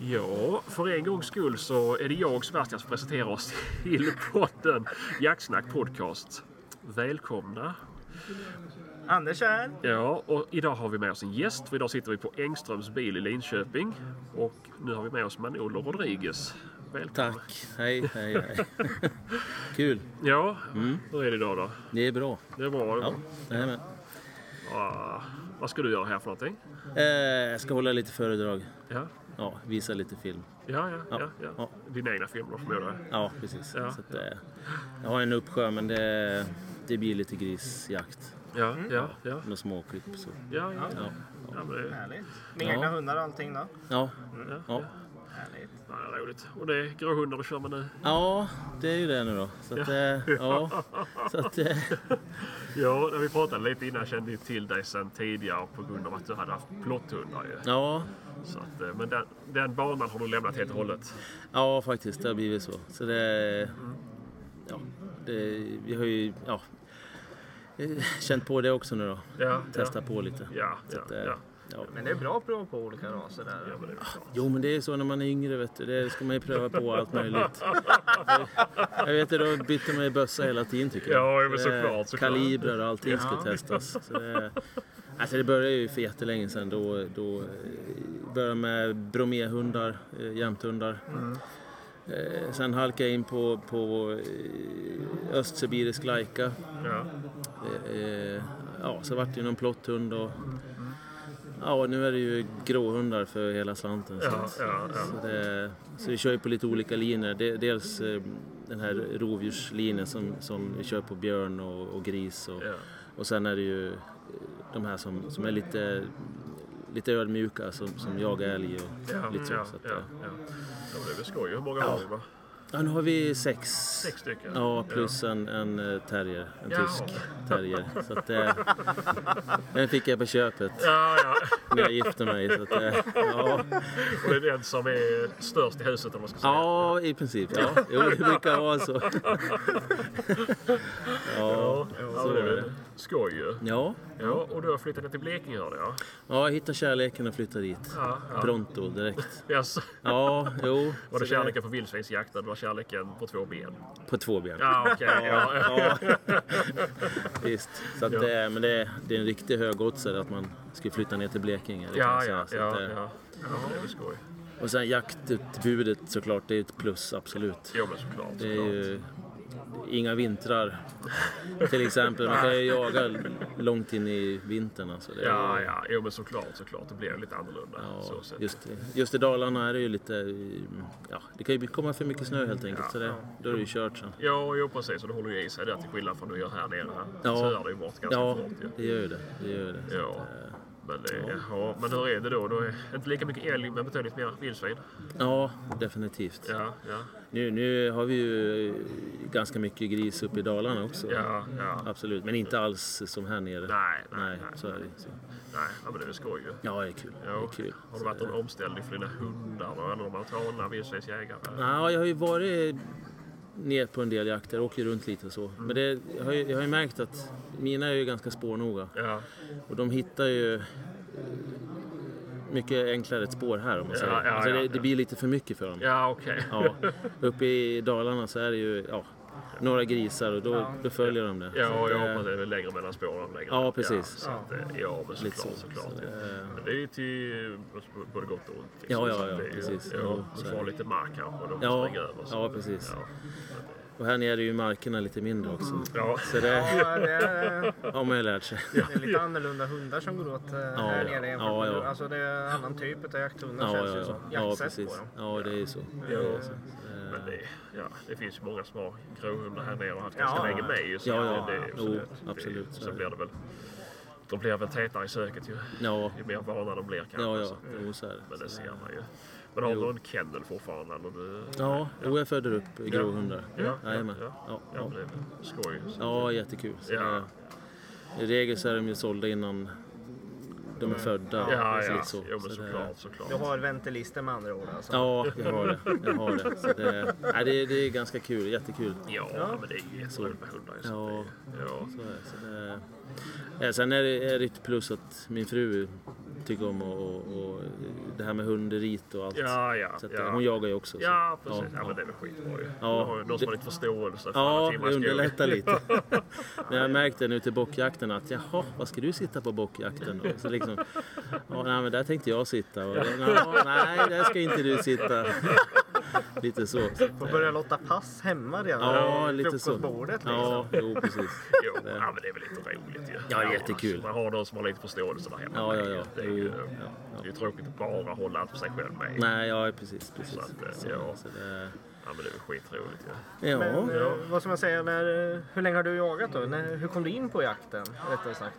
Ja, för en gångs skull så är det jag och Sebastian som presenterar oss till podden Jacksnack Podcast. Välkomna! Anders här. Ja, och idag har vi med oss en gäst. För idag sitter vi på Engströms bil i Linköping. Och nu har vi med oss Manolo Rodriguez. Välkommen! Tack. Hej, hej, hej. Kul. Ja, hur är det idag då? Det är bra. Det är bra. Mm. Ja, det är med. Ah, vad ska du göra här för någonting? Eh, jag ska hålla lite föredrag. Ja, Ja, visa lite film. ja, ja. ja, ja. Ja. Dina egna filmer förmodar jag. Ja, precis. Ja. Så att, eh, jag har en uppsjö, men det, det blir lite grisjakt. Ja, ja, ja. Med småklipp. Så. ja, ja. ja. Mm. Ja. men det, Härligt. Med Ja. egna hundar och allting då. Ja. ja, ja. Ja. Härligt. Ja, det är roligt. Och det är gråhundar du kör med nu? ja, det är ju det nu då. Så att, eh, ja. Så att, eh, Ja, när vi pratade lite innan kände jag till dig sen tidigare på grund av att du hade haft plotthundar ju. ja. Så att, eh, men den, den banan har du lämnat helt och hållet. ja, faktiskt. Det har blivit så. Så det... Ja, det, vi har ju... Ja, eh, känt på det också nu då. Ja, Testa ja. på lite. Ja, Så ja, att, eh, ja. ja. Men det är bra prov på olika raser där. Ja, men det är väl klart. Jo, men det är så när man är yngre. Vet du. Det ska man ju pröva på allt möjligt. Jag vet att då bytte man ju bössa hela tiden tycker jag. Ja, men Så det- såklart, såklart. Kalibrer och allting Ja. ska testas. Så det, alltså det började ju för jättelänge sedan. Då, då eh, började jag med broméhundar, eh, jämthundar. Mm. Eh, Sen halkade jag in på, på eh, östsibirisk laika. Ja, Eh, eh, Ja, så vart det ju någon plotthund och ja, nu är det ju gråhundar för hela slanten. Så, ja, ja, ja. så, det, så vi kör ju på lite olika linjer. De- Dels eh, den här rovdjurslinjen som, som vi kör på björn och, och gris. Och, ja. och sen är det ju eh, de här som, som är lite, lite ödmjuka som, som jagar älg och Ja, lite så. ja, så att, ja, ja. eh, ja, men det är väl skoj. Hur många har vi? va? ja, nu har vi sex. Mm. Sex stycken? Ja, plus en, en eh, terrier. En Jaha. tysk terrier. Så att, eh, den fick jag på köpet. Ja, ja. när jag gifte mig. Så att, eh, ja. Och det är den som är störst i huset om man ska säga. ja, i princip. Ja. Jo, det brukar vara så. Ja, ja, men så det är är väl det. skoj ju. Ja, Ja, och du har flyttat ner till Blekinge hörde jag. ja jag hittade kärleken och flyttade dit. Ja, ja. Pronto, direkt. Jaså? Ja, jo. Var så det kärleken på vildsvinsjakten? Var det kärleken på två ben? På två ben. Ja, okej. ja, ja. Ja, visst. Så att Ja. det, är- men det, är- det är en riktig högoddsare att man ska flytta ner till Blekinge. det kan Ja, jag ja, säga. Så att, ja, eh, ja. Ja, det är väl skoj. Och sen jaktutbudet såklart, det är ett plus absolut. Jo, men såklart. Det är såklart. ju inga vintrar till exempel. Man kan ju jaga långt in i vintern. Alltså. Det är, Ja, ja, jo, men såklart, såklart. Det blir lite annorlunda. Ja, så sett. just, just i Dalarna är det ju lite... Ja, det kan ju komma för mycket snö helt enkelt. Så det, då är det ju kört sen. Ja, jo, precis. Och det håller ju i sig där till skillnad från vad du gör här nere. Ja. Så är det ju bort ganska Ja, fort ju. det gör ju det. det, gör ju det. Så Ja. att, eh, Men, det, ja. men hur är det då? Då är det inte lika mycket älg, men betydligt mer vildsvin. ja, definitivt. Ja, ja, Nu, nu har vi ju ganska mycket gris uppe i Dalarna också. ja, ja. Absolut, men inte alls som här nere. Nej, nej, Mm. Nej, nej. så är det ju. Så. nej. Ja, men det är väl skoj ju. Ja, det är kul. Det Jo. är kul. Har det Så varit det- någon omställning för dina hundar då? eller de här tråna vildsvinsjägare? Ja, jag har ju varit ner på en del jakter, åker runt lite och så. Men det, jag, har ju, jag har ju märkt att mina är ju ganska spårnoga Ja, och de hittar ju eh, mycket enklare ett spår här om man Ja, säger. ja, alltså ja, det, ja. det blir lite för mycket för dem. ja okej. Ja, uppe i Dalarna så är det ju ja, några grisar och då, då följer de det. Så Ja, jag att, eh, hoppas det är väl längre mellan spåren. Längre. Ja, precis. Ja, så att, eh, ja men såklart. Lite så. såklart Så, ja. eh, Men det är ju till eh, både gott och ont. liksom. Ja, ja, Så att ja, det är ju- precis. Ja, Jo, och så så är har det. lite mark kanske och de Ja, springer över. Så. eh, ja, precis. Ja. Och här nere är ju markerna lite mindre också. Ja. Så det Ja, det är, har man ju lärt sig. det är lite annorlunda hundar som går åt eh, här nere jämfört ja, med ja. Alltså det är en annan typ av jakthundar Ja, känns ja, det ja. som. ja Jaktsätt på precis. dem. Ja, det är ju så. Det är Ja. ju så. Så, eh, Men det, ja, det finns ju många som har gråhundar här nere och har haft Ja. ganska länge med. ju, Så Ja, det- ja. det, är ju- så Jo, det- det- absolut, så Så är det. blir det väl. De blir väl tätare i söket ju, Ja, ju mer vana de blir kanske. Ja, ja. Så. Jo, så är det. Men det ser man ju. Men har du en kennel fortfarande? Eller du... Ja, jo, jag föder upp gråhundar. Ja, ja, Jajamän. ja. Ja, Ja, ja. men det är väl skoj. Så. ja, jättekul. Så, Ja. eh, I regel så är de ju sålda innan de är födda. Mm. Ja, Så ja. lite så. Jo, men Så det- såklart, såklart. Du har ventilister med andra ord alltså. Ja, jag har det. Jag har det. Så det, nej, det, det är ganska kul. Jättekul. Ja, men det är ju jätteroligt med hundar. ju, Så Ja. det, ja. Så är det. Så det, eh, sen är det, är det ett plus att min fru tycker om och, och, och det här med hunderit och allt. Ja, ja. Så att, ja. Hon jagar ju också. Så. Ja, precis. Ja, ja. men det är väl skitbra ju. Ja. Ja. Har ju någon som har lite förståelse för alla Ja, timmar det i skogen. underlättar lite. Men jag märkte nu till bockjakten att jaha, vad ska du sitta på bockjakten? Och så liksom, ja, nej, men där tänkte jag sitta. Och, ja, nej, där ska inte du sitta. Lite så. Får börja låta pass hemma redan Ja, vid lite så. frukostbordet. Liksom. Ja, jo, precis. Jo, ja, men det är väl lite roligt ju. Ja, jättekul. Man har någon som har lite förståelse där hemma. Ja, ja, ja. Det är ju, Jo, ja, ja. Det är ju tråkigt att bara hålla allt för sig själv med. Nej, ja, precis. precis. Så att, Så, ja. så det, Ja, men det är väl skitroligt ju. ja. Men, eh, Vad ska man säga, när, eh, hur länge har du jagat då? När, hur kom du in på jakten? Rättare sagt.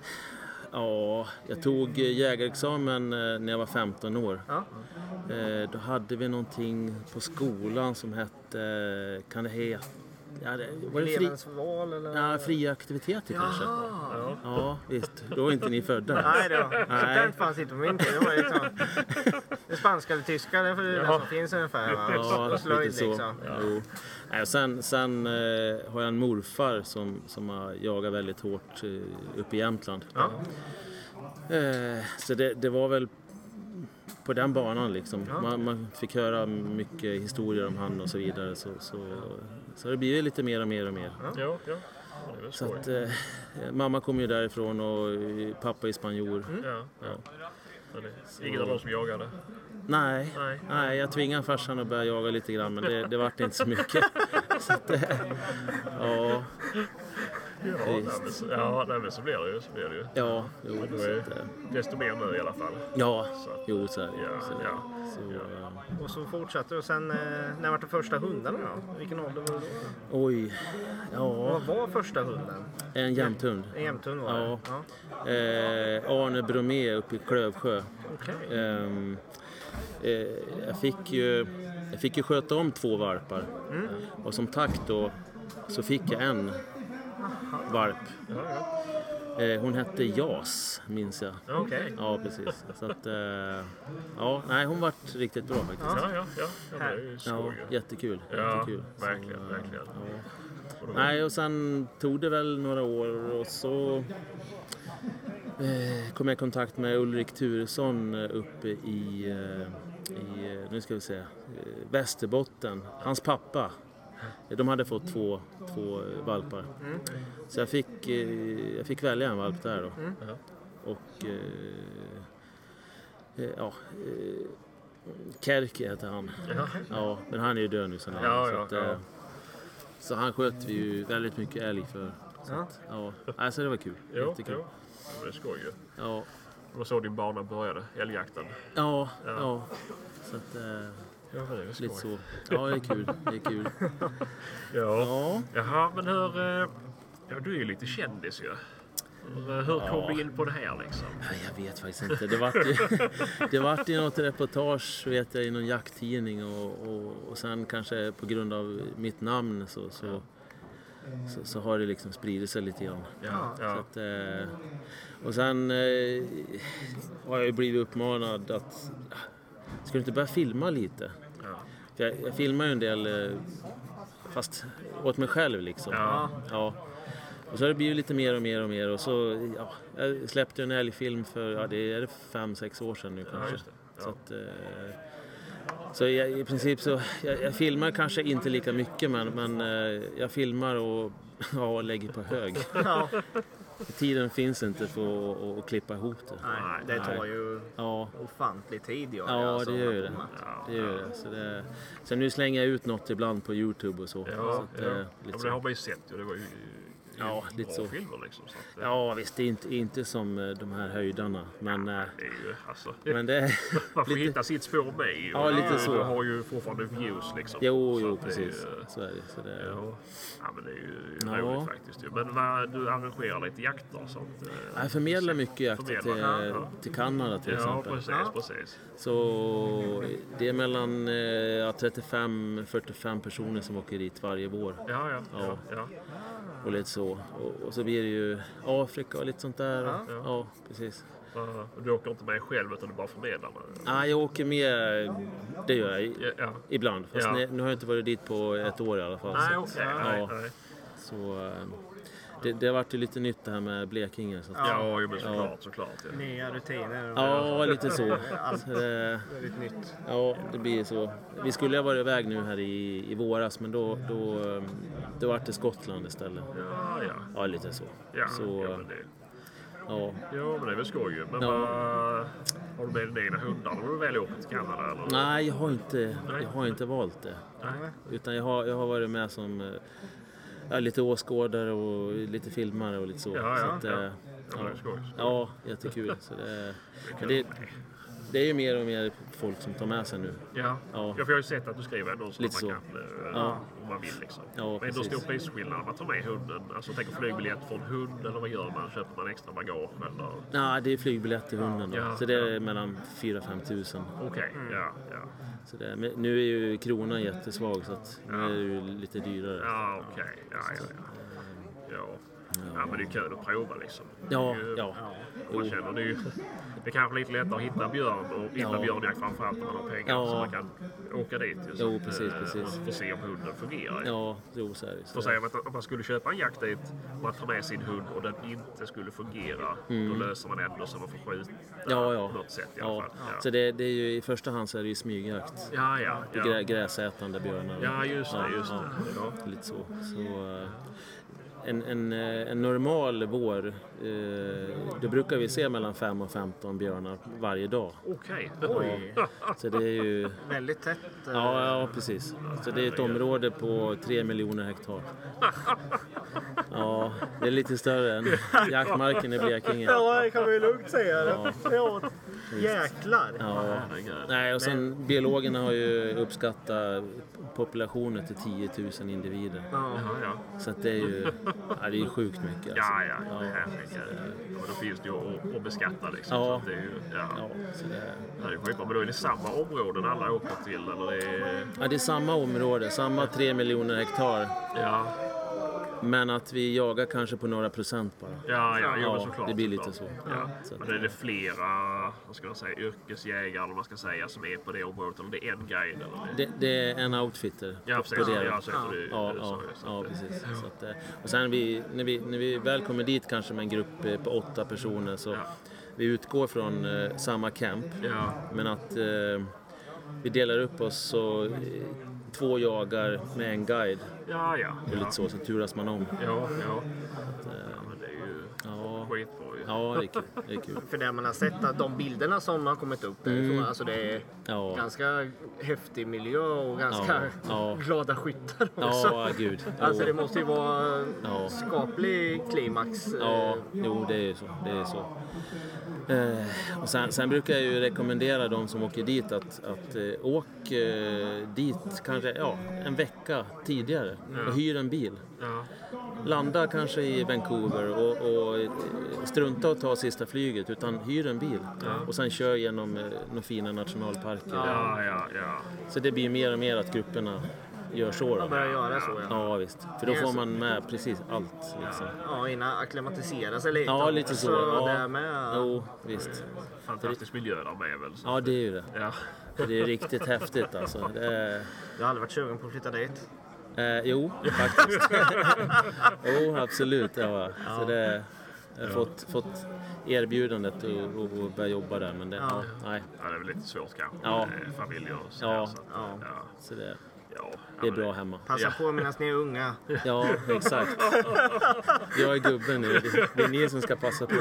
Ja, jag tog eh, jägarexamen eh, när jag var 15 år. Ja. Eh, Då hade vi någonting på skolan som hette, eh, kan det heta, ja, det- var det fri, Elevens val eller? ja, fria aktiviteter kanske? Ah. Ja, visst. Då var inte ni födda. Nej, det var, sånt Nej. där fanns inte på min tid. Det var liksom, det spanska eller tyska, det är det Ja. som finns ungefär. Va? Ja, Och slöjd lite så. liksom. Jo. Nej, och Sen, sen eh, har jag en morfar som, som har jagat väldigt hårt eh, uppe i Jämtland. Ja. Eh, så det, det var väl på den banan liksom. Man, man fick höra mycket historier om han och så vidare. Så, så, så har det blivit lite mer och mer och mer. Ja, ja. Det är väl Så skoj. att, eh, mamma kom ju därifrån och eh, pappa är spanjor. Ja, ja. Ja. Men det- Ingen av dem som jagade. Nej, Nej. nej, jag tvingade farsan att börja jaga lite grann men det, det vart inte så mycket. så att, eh, ja, Ja, nej, men så, ja nej, men så blir det ju. Så blir det ju. ja, jo, Det så är ju att, eh, desto mer nu i alla fall. ja, Så att, jo, så är det. ja, Så, ja. så, eh, Och så fortsatte du. Och sen, eh, när var de första hundarna då? Vilken ålder var det då? oj, ja, Vad var första hunden? en jämthund. En jämthund var det? Ja. ja. Eh, Arne Bromé uppe i Klövsjö. Okej. Ehm, eh, jag, fick ju, jag fick ju sköta om två varpar. Och som tack då så fick jag en varp. Eh, hon hette Jas, minns jag. Ja, Okej. Ja, precis. Så att, eh, ja, nej, hon vart riktigt bra faktiskt. Ja, ja, ja. ja det är ju Ja, skoj ju. jättekul. Ja, jättekul. Så, verkligen, eh, verkligen. Ja. Nej, och sen tog det väl några år och så eh, kom jag i kontakt med Ulrik Turesson eh, uppe i, eh, i eh, nu ska vi se, eh, Västerbotten. Hans pappa. Eh, De hade fått två, två eh, valpar. Så jag fick, eh, jag fick välja en valp där då. Ja. Och eh, eh, ja, eh, Kerke heter han. Ja. Ja, men han är ju död nu sen Ja, så, ja, att, ja. eh, så han sköt vi ju väldigt mycket älg för. Ja. Ja, alltså det var kul. Jo, jo. Jättekul. Ja, men det är skoj ju. Ja, Det var så din bana började, älgjakten. ja, ja. Så att, eh, Ja, det är väl skoj. lite så. Ja, det är kul. Det är kul. Ja. Ja. Jaha, men hur... eh, Ja, du är ju lite kändis ju. Hur eh, hur kom Ja. du in på det här liksom? Nej, Jag vet faktiskt inte. Det vart ju, det vart ju något reportage vet jag, i någon jakttidning och, och, och sen kanske på grund av mitt namn så, så, så, så har det liksom spridit sig lite grann. Ja, Så ja. att, eh, och sen eh, har jag ju blivit uppmanad att ah, ska du inte börja filma lite? ja. För jag, jag filmar ju en del eh, fast åt mig själv liksom. ja. Ja. Och så har det blivit lite mer och mer och mer och så ja, jag släppte en älgfilm för, ja det är det fem, sex år sedan nu kanske. just det. Ja. Så att, eh, så jag, i princip så, jag, jag filmar kanske inte lika mycket men, men eh, jag filmar och, ja, och lägger på hög. Ja. Tiden finns inte för att, att, att klippa ihop det. Nej, det tar ju Ja, ofantlig tid. gör Ja, alltså. det gör ju det. Ja, det gör det. Så, det. så nu slänger jag ut något ibland på Youtube och så. Ja, så ja. att, eh, ja lite men så. det har man ju sett ju. Det var ju Ja, bra lite så. filmer liksom. Så att, eh, Ja, visst, det är inte, inte som eh, de här höjdarna. Men, eh, Det är ju, alltså, men det... man får hitta sitt spår med ju. Ja, lite Du- så. Du har ju fortfarande views liksom. Jo, Så jo, att det är ju, precis. Så är det. Så det Ja. ja, men det är ju Ja. roligt faktiskt. ju. Men vad, du arrangerar lite jakter och sånt? eh, Jag förmedlar mycket jakt till, Förmedlar, ja. till Kanada till Ja, exempel. precis, Ja. precis. Så det är mellan eh, ja, 35-45 personer som åker dit varje vår. Ja, ja, ja. Ja. ja. Och lite så. Och, och så blir det ju Afrika och lite sånt där. Ja, ja precis. Ja, och Du åker inte med själv utan du bara förmedlar med. Ah, jag åker med, eh, det gör jag i- Ja, ja. ibland. Fast Ja. ne- nu har jag inte varit dit på ett år i alla fall. Nej, så, okej. nej, ja. nej. så, eh, det, det har varit ju lite nytt det här med Blekinge. Så att, ja. Ja, jo, men såklart, såklart. Ja. Nya rutiner och lite så. Allt. så det, väldigt nytt. ja, det blir så. Vi skulle ha varit iväg nu här i, i våras men då, då, eh, då vart det Skottland istället. Ja, ja. Ja, lite så. Ja, så ja, men det, ja. ja, men det är väl skoj ju. Men Ja. vad- har du med dina egna hundar när du väl åker till Kanada? Eller? Nej, jag har, inte, jag har inte valt det. Nej. Utan jag har, jag har varit med som eh, ja, lite åskådare och lite filmare och lite så. Ja, så ja, eh, ja. Ja, men det är skoj. ja, jättekul. Så det, men det, det är ju mer och mer folk som tar med sig nu. Ja. Ja. ja, för jag har ju sett att du skriver ändå så Lite att man så. kan eh, Ja. om man vill liksom. Ja, men ändå precis. stor prisskillnad om man tar med hunden. Alltså tänk en flygbiljett från hund eller vad gör man? Köper man extra bagage eller? Nej, det är flygbiljett till hunden. Då. Ja, så det är mellan 4-5 tusen. Okej, Mm. ja, ja. Så det, men nu är ju kronan jättesvag så att nu är det ju lite dyrare. Ja, okej. Ja, ja, ja. ja. Ja, men det är kul att prova liksom. Ja, Det är ju- ja. Man känner det är ju... Det är kanske lite lättare att hitta björn och hitta Ja. björnjakt framförallt när man har pengar Ja. så man kan åka dit. ju, så Jo, att, precis, eh, precis. Man får se om hunden fungerar. Ja. Ja, jo, så är det. För Så, säger man att om man skulle köpa en jakt dit och man tar med sin hund och den inte skulle fungera, då löser man ändå så man får skjuta Mm. ja, ja. på något sätt i alla ja. fall. Ja, Så det, det är ju i första hand så är det ju smygjakt. ja, ja. Grä, ja. gräsätande björnar. ja just det. Just Ja, det. Ja. Lite så. så eh, en, en, eh, en normal vår, eh, då brukar vi se mellan 5 och 15 björnar varje dag. Okej. Oj. Så det är ju... Väldigt tätt. eh, Ja, ja precis. Så det är ett område på 3 miljoner hektar. Ja, det är lite större än jaktmarken i Blekinge. Ja, det kan man ju lugnt säga. Ja. Jäklar! Ja. Herregud. Nej, och sen biologerna har ju uppskattat populationen till 10 000 individer. Ja. Ja, ja. Så att det är ju ja, det är ju sjukt mycket. Alltså. Ja, ja, herregud. Ja, men då finns det ju att, att beskatta liksom. Ja. Så att det är ju, ja. Ja, så det är... Det är ju skitbra. Men då är det samma områden alla åker till? Eller det är, Ja, det är samma område, samma 3 miljoner hektar. ja, Men att vi jagar kanske på några procent bara. ja, ja, jo, Ja, men såklart. det blir lite såklart. så. Ja. Så att- Men är det flera vad ska man säga, yrkesjägare eller vad man ska säga, som är på det området? Eller det är en guide? Eller? Det, det är en outfitter. Ja, precis. det är det. Ja, så heter det ju i Ja, USA, ja, ju, så att ja det- precis. Så att, eh, och sen vi, när, vi, när vi väl kommer dit kanske med en grupp eh, på åtta personer så Ja. vi utgår från eh, samma camp. Ja, Men att eh, vi delar upp oss så eh, två jagar med en guide. ja, ja. Och ja. lite så, så turas man om. Ja, ja. ja, men det är ju Ja, skitbra ju. ja det är kul. Det är kul. För det man har sett, att de bilderna som har kommit upp därifrån, alltså det är Mm. Ja. ganska häftig miljö och ganska Ja. glada skyttar också. Ja, gud. Jo. Alltså det måste ju vara Ja. skaplig klimax. eh, Ja, jo det är ju så. Det är så. Eh, och sen, sen brukar jag ju rekommendera de som åker dit att, att eh, åk eh, dit kanske ja, en vecka tidigare och hyr en bil. Ja, Landa kanske i Vancouver och, och eh, strunta och ta sista flyget utan hyr en bil och sen kör genom eh, några fina nationalparker. ja, ja. ja. Så det blir mer och mer att grupperna gör så. Man Då. börjar göra så ja. Ja visst, för då får man med precis allt. Liksom. Ja, innan akklimatisera sig lite. Ja, lite så. Ja. Ja. Det med. Jo, visst. Fantastisk miljö där med väl. Så. Ja, det är ju det. Ja. Det är riktigt häftigt alltså. Det är, Jag har aldrig varit sugen på att flytta dit. eh, jo, faktiskt. jo, absolut. Det har jag. Så det, jag har fått, fått erbjudandet att och, och börja jobba där, men det, ja. nej. Ja, det är väl lite svårt kanske Ja. med familjer och så. Ja. så att, Ja. ja. Så det, Ja, det är ja, men bra hemma. Passa Ja. på medan ni är unga. Ja, exakt. Jag är gubben nu. Det- Det är ni som ska passa på.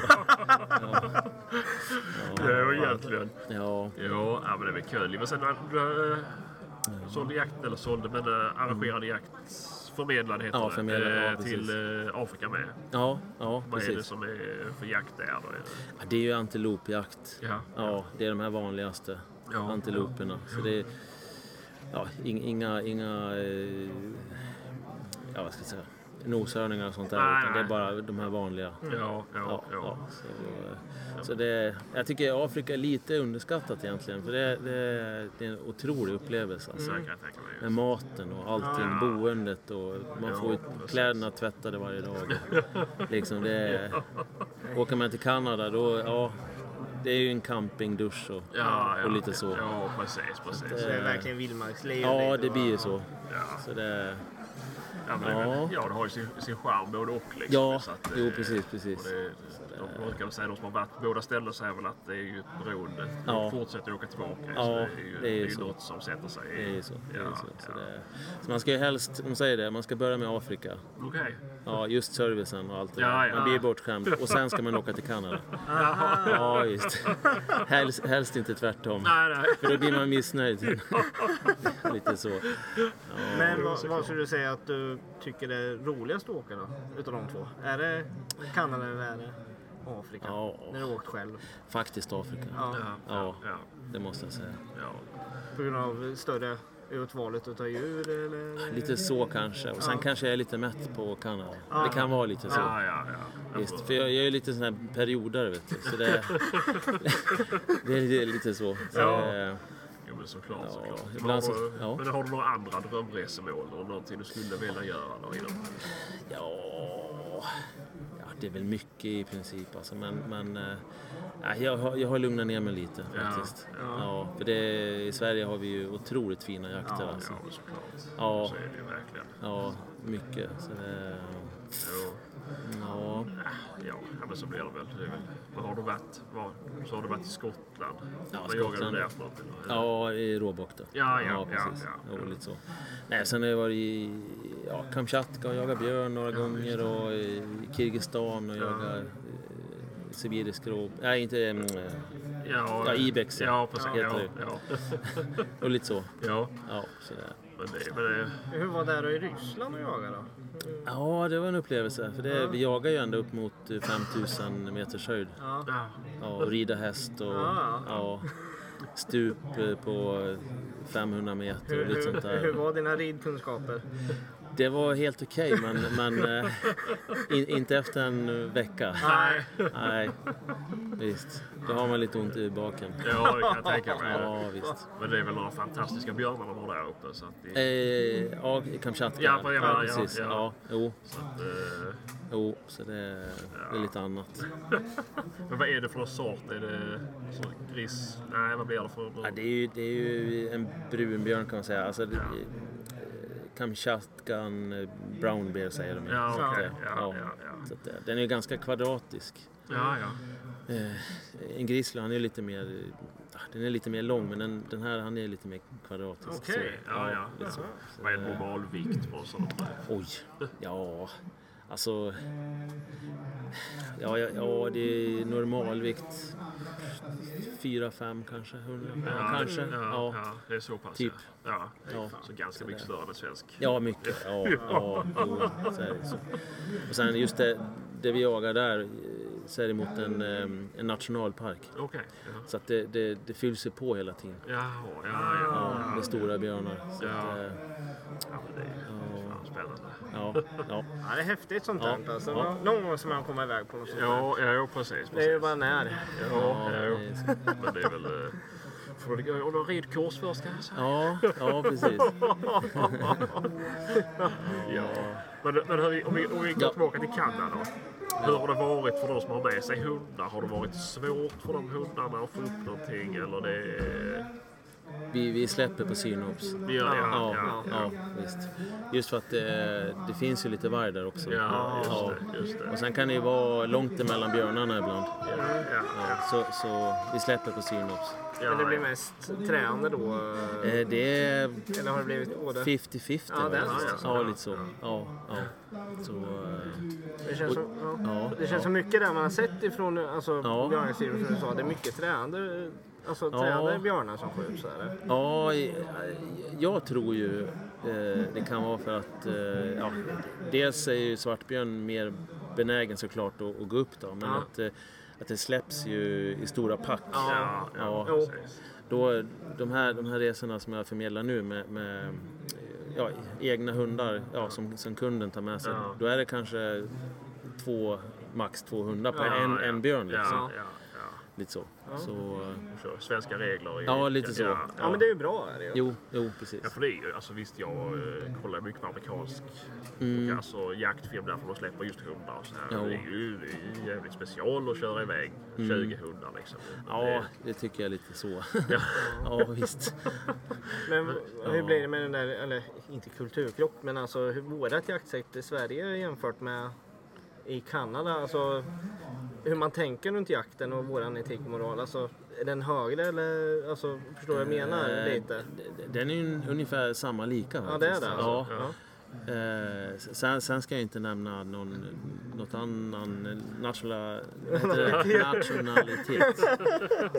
Ja, egentligen. Ja, Ja, ja men det är väl kul. Men sen du äh, sålde jakt, eller sålde, men äh, arrangerade jakt, förmedlade heter Mm. Ja, det, förmedlade, eh, ja, precis. till äh, Afrika med. ja, ja Vad är det precis. som är för jakt där då? Är det- Ja, Det är ju antilopjakt. Ja. Ja, det är de här vanligaste Ja. antiloperna. Så det är, ja, ing- inga, inga eh, ja, vad ska jag säga, noshörningar och sånt där. Nej, utan det är nej. bara de här vanliga. Ja, ja, Ja, ja. ja, så, eh, så det, är- jag tycker Afrika är lite underskattat egentligen. För det, är- det, är- det är en otrolig upplevelse. Alltså. Så kan jag tänka mig. Med maten och allting, boendet och man får ju kläderna tvättade varje dag. liksom det är, åker man till Kanada då, ja, det är ju en campingdusch och, Ja, ja, och lite så. Ja, precis, precis. Det är verkligen vildmarksliv. Ja, lite, det va? blir ju så. Ja. så det, Ja, men det, är Ja. väl, ja, det har ju sin, sin charm både och. Liksom, Ja, Så att, jo eh, precis, och precis. det- De brukar väl säga, de som har varit på båda ställena säger väl att det är ju ett beroende. De Ja. fortsätter åka tillbaka. Ja, så det är ju, det är ju så. något som sätter sig. Det är ju så. Det är ju Ja, så. Så, ja. det, så man ska ju helst, om man säger det, man ska börja med Afrika. Okej. Ja, just servicen och allt det Ja, där. ja. Man blir ju bortskämd. Och sen ska man åka till Kanada. Ja, just. Helst, helst inte tvärtom. Nej, nej. För då blir man missnöjd. Lite så. Men vad, vad skulle du säga att du tycker är roligast att åka då? Utav de två? Är det Kanada eller är det Afrika? Ja. När du har åkt själv? Faktiskt Afrika. Ja. Ja, Ja. ja, ja, Det måste jag säga. ja. På grund av större utvalet utav djur eller? Lite så kanske. Och sen kanske jag är lite mätt på Kanada. Det kan vara lite så. ja, ja, ja. Jag Visst, får- för jag, jag är lite sån här perioder vet du. Så det, det är lite- lite så. så eh, Ja. det, Jo, men såklart. Ja, såklart. ibland Har så- du, ja. Men har du några andra drömresemål eller någonting du skulle vilja göra? Då, inom? ja, ja, det är väl mycket i princip alltså. Men, men eh, nej, jag, har- jag har lugnat ner mig lite Ja, faktiskt. Ja, för det, i Sverige har vi ju otroligt fina jakter Ja, alltså. men såklart. Ja. Så är det ju verkligen. Ja, mycket. Så det, Jo. ja. Ja, ja, men så blir det väl. Det är väl var har du varit? Var, så har du varit i Skottland. Ja, Vad jagade Skottland. du där för något? eller? Ja, i råbock då. Ja, ja, precis. ja, ja. Jo, lite så. Nej, sen har jag varit i ja, Kamchatka och jagat björn några gånger och i Kirgizistan och jagat eh, sibirisk rå... Nej, inte... mm, eh, Ja, Ja, Ibex, ja. Ja, precis. Heter Ja, det. ja, och lite så. ja. Ja, sådär. Men det, men det, Hur var det då i Ryssland att jaga då? ja, det var en upplevelse. För det, vi jagar ju ända upp mot eh, 5000 meters höjd. Ja. ja. Ja, och rida häst och Ja. ja, stup eh, på eh, 500 meter Hur, och lite sånt hur, där. hur var dina ridkunskaper? Det var helt okej, men, men eh, in, inte efter en vecka. Nej. Nej, visst. Då har man lite ont i baken. ja, det kan jag tänka mig. Ja, visst. Men det är väl några fantastiska björnar de har där uppe. Så att det, Eh, ja, i Kamchatka. Ja, på- ja, ja, precis. ja. Ja, jo, så att, eh, jo, så det, det är lite annat. men vad är det för någon sort? Är det så gris? Nej, vad blir det för? Ja, det, är ju, det är ju en brunbjörn kan man säga. Alltså, det- eh, Kamchatkan eh, brown bear säger de ju. Ja, Så att okej. det- Ja, ja, ja. Så att det- den är ju ganska kvadratisk. Ja, ja. Eh, En grizzly, han är lite mer... eh, Den är lite mer lång, men den, den här, han är lite mer kvadratisk. Okej. så- Ja, ja. lite så. Så, Vad är en eh, normalvikt på en sån? där? Oj, ja... Alltså... Ja, ja, ja det är normalvikt... 4-5 kanske, 100 ja, kanske. Ja, Ja, ja. det är så pass. Typ. Ja. Ja. Ja. Så ganska mycket större än en svensk. ja mycket. Ja, ja, jo, så är det så. Och sen just det, det vi jagar där eh, så är det mot en, eh, en nationalpark. Okej. Ja. Så att det, det, det fylls sig på hela tiden. Jaha, ja, ja. Ja, med stora björnar. Så Ja. att, eh, ja men det är ju fan spännande. Ja, ja, Ja, det är häftigt sånt Ja. där. Alltså, Ja. Någon gång ska man komma iväg på något sånt där. Ja, ja, ja precis. Det är ju precis. bara när. Ja, ja, ja, ja. det är så. Men det är väl... eh, Får du gå någon ridkurs först kanske? ja, ja precis. Ja. Men, men hur- om, vi, om vi går Ja. tillbaka till Kanada. Hur har det varit för de som har med sig hundar? Har det varit svårt för de hundarna att få upp någonting? Eller det... Vi, vi släpper på synops. Vi gör det, Ja, ja. ja, visst. Just för att det, det finns ju lite varg där också. Ja, just det. Just det. Och sen kan det ju vara långt emellan björnarna ibland. Ja, ja, ja. Så, så vi släpper på synops. ja, Men det blir ja. mest tränande då? eh, Eh, Det är Mm. Eller har det blivit både? 50-50. Ja, det är faktiskt. så. ja, lite så. Ja, ja. Så, eh, Det känns som, ja. ja, Det känns ja. som mycket där man har sett ifrån alltså, Ja. björnstyrelsen som du sa. Det är mycket tränade, alltså, Ja. tränade björnar som skjuts. Där. Ja, eh, jag tror ju eh, det kan vara för att eh, ja, dels är ju svartbjörn mer benägen såklart att, att gå upp då, men Ja. att, eh, att det släpps ju i stora pack. Ja, ja, Ja. precis. Då, de, här, de här resorna som jag förmedlar nu med, med eh, ja, egna hundar ja, som, som kunden tar med sig, Ja. då är det kanske två, max två hundar på Ja, en, ja. en björn. Liksom. Ja, ja, ja. Lite så. eh, Så, Kör Svenska regler. i- Ja, lite så. Ja, Ja, men det är ju bra. Är det ju. jo, jo, precis. Ja, för det är ju, alltså visst jag eh, kollar mycket på amerikansk och alltså, jaktfilm därför de släpper just hundar och så här. Mm. Ja. Mm. Det är ju det är ju jävligt special att köra iväg 20 hundar liksom. Men Ja, det- det tycker jag är lite så. Ja. ja, visst. Men hur Ja. blir det med den där, eller inte kulturkrock, men alltså hur vårat jaktsätt i Sverige jämfört med i Kanada. Alltså hur man tänker runt jakten och våran etik och moral. Alltså är den högre eller, alltså förstår du vad jag menar Eh, lite? d- Den är ju un- ungefär samma lika. Ja det är faktiskt. det Ja. alltså. Ja. Eh, s- sen, sen ska jag inte nämna någon, något annan nationella, vad heter det? nationalitet.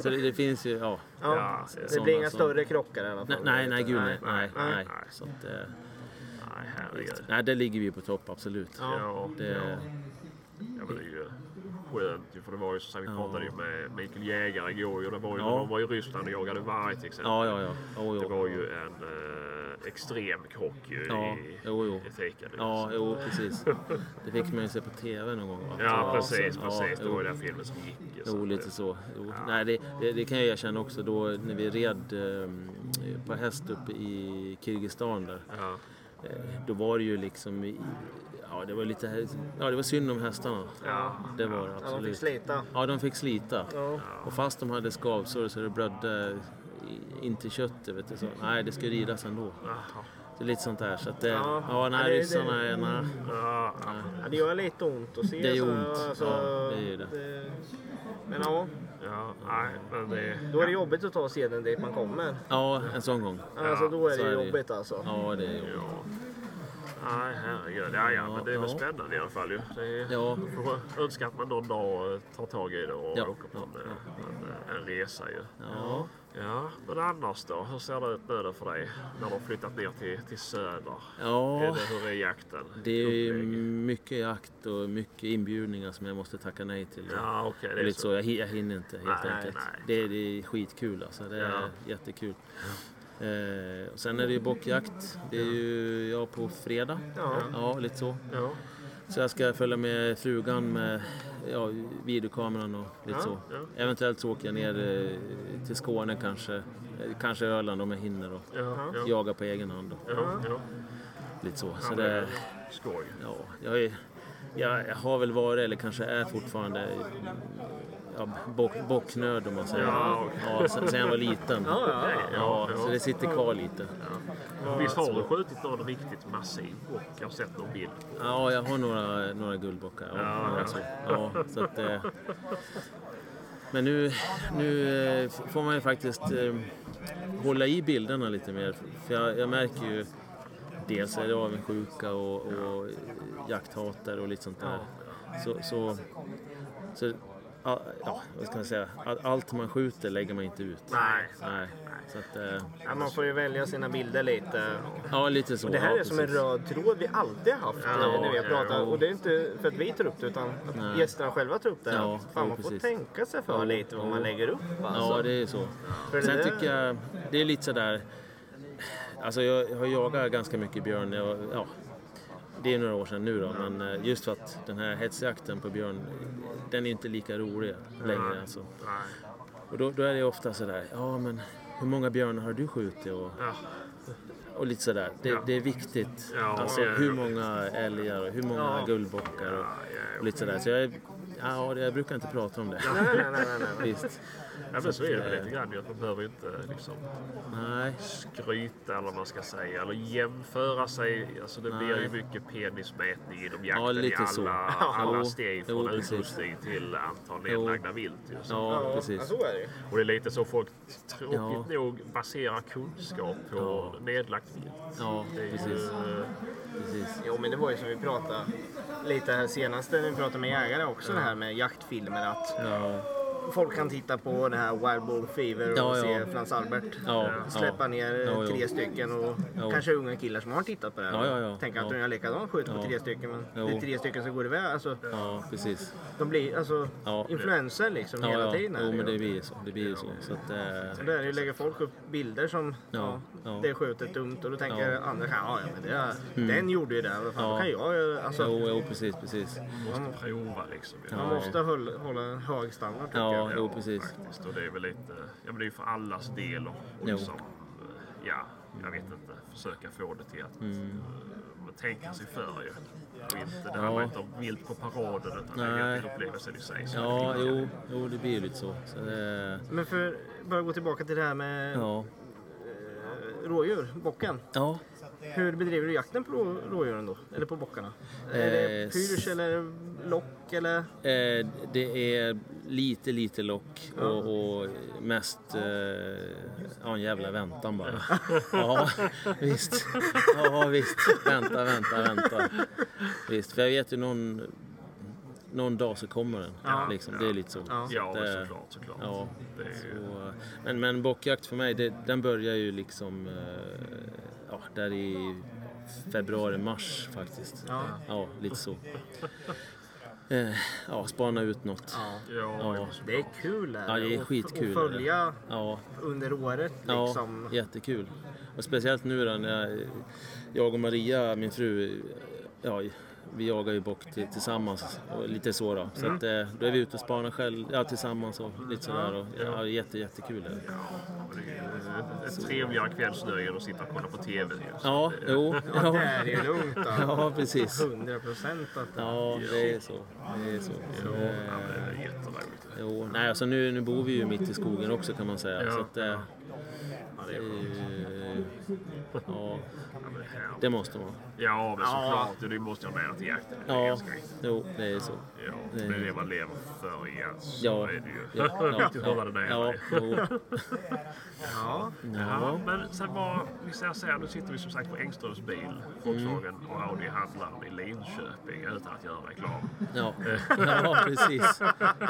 Så det, det finns ju, ja. Ja. Ja, Det sådana blir inga som- större krockar i alla Nej, fall. nej, nej gud nej. nej, nej, nej. nej. Så att, eh, Nej, herregud. nej, där ligger vi på topp, absolut. Ja. Ja, Det, ja, men det är ju skönt ju, för det var ju som sagt, vi Ja. pratade ju med Mikael Jägare igår ju. Det var ju Ja. när de var i Ryssland och jagade varg till exempel. ja, ja, ja. Jo, jo. Det var ju en eh, extrem krock ju Ja, i jo, jo. etiken. Ja, jo, precis. Det fick man ju se på TV någon gång. va? Ja, precis, så- precis. Det jo. var ju den filmen som gick. ju, så Jo, att lite det- så. Jo. Nej, det, det, det kan jag erkänna också. Då, när vi red eh, på häst uppe i Kirgizistan där. Ja. Eh, då var det ju liksom... i- Ja, det var lite... Ja, det var synd om hästarna. Ja. Det var det Ja, de fick absolut. slita. Ja, de fick slita. Ja. Och fast de hade skavsår så det blödde i- in till köttet. Vet du, så, nej, det ska ridas ändå. Jaha. Det är lite sånt där. Så att det, Ja. ja, Ja, nej, det- det- ryssarna är... Nej. Ja, Ja, det gör lite ont att se. Det gör så- alltså, ont. Ja, det gör det. Men ja, ja, nej, men det... då är det jobbigt att ta seden dit man kommer. Ja, en sån gång. Alltså då är så det är det ju. jobbigt alltså. Ja, det är jobbigt. Ja. Nej, herregud. Ja, ja, men det är väl Ja. spännande i alla fall ju. Det är... Ja, Får önska att man någon dag eh, tar tag i det och Ja. åker på en, eh, en, eh, en resa ju. ja. Ja, men annars då? Hur ser det ut nu då för dig? När du har flyttat ner till, till söder? Är ja. det, hur är jakten? Det är ju Upplägg? mycket jakt och mycket inbjudningar som jag måste tacka nej till. Ja, okej. Det är det är lite så. så, jag, hi- jag hinner inte helt Nej, enkelt. nej. Det, är, det är skitkul alltså, det är Ja. jättekul. Eh, och sen är det ju bockjakt, det är ju jag på fredag. Ja. Ja, lite så. Ja, Så jag ska följa med frugan med ja, videokameran och lite Ja, så. ja. Eventuellt så åker jag ner eh, till Skåne kanske, Eh, kanske Öland om jag hinner och ja, ja. jaga på egen hand. Och ja, ja. lite så. ja så men det det, är skoj. Ja, jag, är, jag har väl varit, eller kanske är fortfarande, ja, bock, bocknörd om man säger. Ja, okej. ja, sen, sen jag var liten. Ja, ja. Ja, Ja, ja. så det sitter kvar lite. Visst har du skjutit någon riktigt massiv bock? Jag har sett någon bild. Ja, jag har några, några guldbockar. Ja, Ja, några ja. Så, ja, så att, eh, men nu, nu eh, f- får man ju faktiskt eh, hålla i bilderna lite mer. För jag, jag märker ju dels är det avundsjuka och, och jakthatare och lite sånt där. Så, så, så ja, ja, vad ska man säga? All- Allt man skjuter lägger man inte ut. Nej. Nej. Så att, eh, Ja, man får ju välja sina bilder lite. ja, lite så. Och det här ja, är som en precis. röd tråd vi alltid har haft eh, Ja, när vi har pratat. ja. Och det är inte för att vi tar upp det utan att Nej. gästerna själva tar upp det. Ja, Fan, man jo, får precis. tänka sig för Ja, lite vad jo. man lägger upp. Alltså. Ja, det är så. För det Sen där- tycker jag, det är lite sådär... Alltså jag har jagat ganska mycket björn. Jag, ja, det är några år sedan nu då, men eh, just för att den här hetsjakten på björn, den är inte lika rolig längre. Alltså. Nej. Och då, då är det ofta sådär, ja men hur många björnar har du skjutit? Och, Ja. och lite sådär. Det, det är viktigt. Ja, alltså ja, ja. hur många älgar och hur många Ja. guldbockar och, ja. och lite sådär. Så jag, är- ja, det- jag brukar inte prata om det. Nej, nej, nej, nej, nej. Visst. Ja, men så är det väl lite grann. ju, att Man behöver ju inte liksom, Nej. skryta eller vad man ska säga. Eller jämföra sig. Alltså, det blir ju mycket penismätning inom jakten Ja, lite i så. alla, alla Jo, steg. jo, Från precis. utrustning till antal nedlagda vilt. Ju, så. Ja, Ja, alltså, precis. så är det ju. Och det är lite så folk tråkigt nog baserar kunskap på nedlagt vilt. Ja, Det är ju, precis. eh, precis. Jo, men det var ju som vi pratade lite här senast när vi pratade med jägare också. Det här med jaktfilmer. Att Ja, folk kan titta på den här Wild Ball Fever och Ja, ja. se Frans Albert eh, ja, släppa ja. ner Ja, tre jo. stycken och Jo. kanske unga killar som har tittat på det här. Ja, ja, ja. Tänker att Ja. de gör likadant, skjuter på Ja. tre stycken. Men Jo. det är tre stycken som går iväg. Alltså, Ja, precis. de blir alltså Ja. influenser liksom Ja, hela ja. tiden. här Jo, ju. men det blir ju så. Det blir ju så. så att, eh, Och där ju lägger folk upp bilder som ja, Ja, ja. det är skjutet dumt och då tänker Ja. Mm. andra ja, ja men det, den gjorde ju det, vad fan Ja. då kan jag göra?" alltså, jo, jo, precis, precis. måste prova liksom. ju. Man måste hålla, hålla en hög standard tycker Ja, Ja, jo, precis. Faktiskt. Och det är väl lite, ja men det är ju för allas del och, och Jo. liksom, eh, ja, jag vet inte, försöka få det till att eh, man tänker sig för ju. Och inte, det handlar Mm. Ja. inte om vilt på paraden utan det Nej. är egentligen upplevelsen i sig. som är Ja, viktig. jo, jo, det blir ju lite så. så det, Men för bara gå tillbaka till det här med ja. rådjur, bocken. ja, Hur bedriver du jakten på rå- rådjuren då? Eller på bockarna? Är Eh, det pyrsch eller lock eller? Eh, det är lite, lite lock och, och mest eh, ja, en jävla väntan bara. Ja, visst. Ja, visst. Vänta, vänta, vänta. Visst, för jag vet ju någon, någon dag så kommer den. liksom. Det är lite så. Ja. Ja, Det- såklart, såklart. Ja. Det är ju, Så, men, men bockjakt för mig, det, den börjar ju liksom eh, ja, där i februari, mars faktiskt. Ja. ja lite så. Eh, ja, spana ut något. Ja. ja, Ja. Det är såklart. kul Ja, det är och- skitkul. Och följa Ja, under året ja liksom. jättekul. Och speciellt nu då när jag, jag och Maria, min fru, ja, vi jagar ju bock till, tillsammans och lite så då. Så att, eh, då är vi ute och spanar själv, ja, tillsammans och lite sådär. Och, ja, jätte, jättekul är det. Och det är ju ett trevligare kvällsnöje än att sitta och kolla på TV. ju. Så Ja, det- jo. Ja. Det Ja, är ju lugnt då. ja precis. 100 procent att det Ja, det är så. Det är så. Ja, men Eh, det är jätteroligt. Jo, nej, alltså nu, nu bor vi ju mitt i skogen också kan man säga. Ja. Så att, eh, det är eh, ja, Ja, men det är härligt. det måste man. Ja, men Ja. såklart. Du måste ha med till jakten. Det är Ja, ganska riktigt. jo, det är så. Ja, det är det man lever för igen. Så Ja, är det ju. ja, ja, Du hörde det ja, där. ja, jo, Ja. Ja, men sen var, vi ser så här, nu sitter vi som sagt på Engströms bil, Volkswagen Mm. och Audi handlaren i Linköping utan att göra reklam. ja, ja, precis.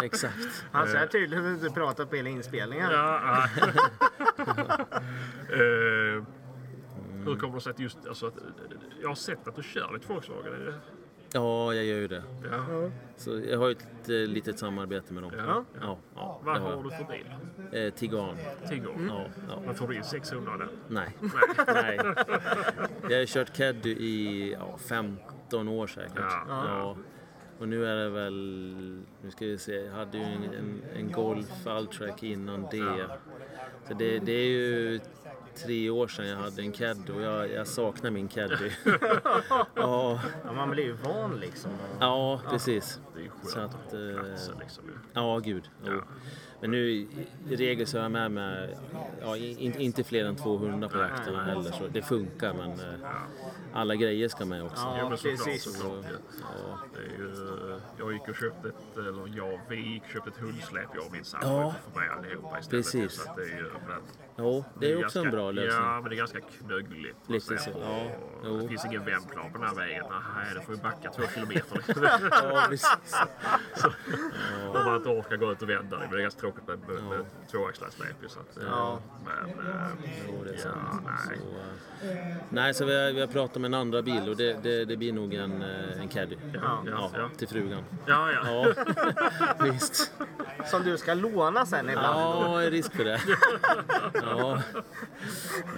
Exakt. Alltså jag har tydligen inte pratat på hela inspelningen. Ja, ja. Eh, Hur kommer det sig att just, alltså att, jag har sett att du kör lite Volkswagen. Är det- Ja, jag gör ju det. Ja. Så jag har ju ett eh, litet samarbete med dem. Ja. Ja, ja, Mm. det Vad har har jag. du för bil? Eh, Tiguan. Tigger? Ja, ja. Men får du in 600 där? Nej. Nej. Nej. Jag har kört Caddy i ja, 15 år säkert. Ja. Och nu är det väl, nu ska vi se, jag hade ju en, en, en Golf Alltrack innan det. Så det, det är ju tre år sedan jag hade en Caddy och jag, jag saknar min Caddy. ja, Ja, man blir ju van liksom. ja, precis. Det är ju skönt Så att att, ha eh, platsen liksom. ju. Ja, gud. Jo. Men nu i i regel så är jag med mig, ja, in, inte fler än 200 på jakterna heller. Så det funkar, men eh, alla grejer ska med också. Ja, Ja, men såklart, precis. såklart. Ja. Ja. Det är ju, jag gick och köpte ett, eller jag, vi gick och köpte ett hundsläp jag och min sambo Ja. för mig allihopa istället. Precis. Så att det är ju, men, Jo, det är också ganska, en bra lösning. Ja, men det är ganska knöggligt. Och Lite sen- så, ja. och Jo. Det finns ingen vändplan på den här vägen. Nej, det får vi backa två kilometer. Ja, precis. Om man inte orkar gå ut och vända. Men det är ganska tråkigt med, med, med tvåaxlat släp ju. Så att, eh, Ja. Men, eh, Jo, det är sant. ja, Så, nej. eh, nej, så vi har, vi har pratat om en andra bil och det, det, det blir nog en, eh, en Caddy. Ja, ja, Ja, till frugan. ja, ja. Ja, visst. Som du ska låna sen ibland. Ja, är risk för det. Ja.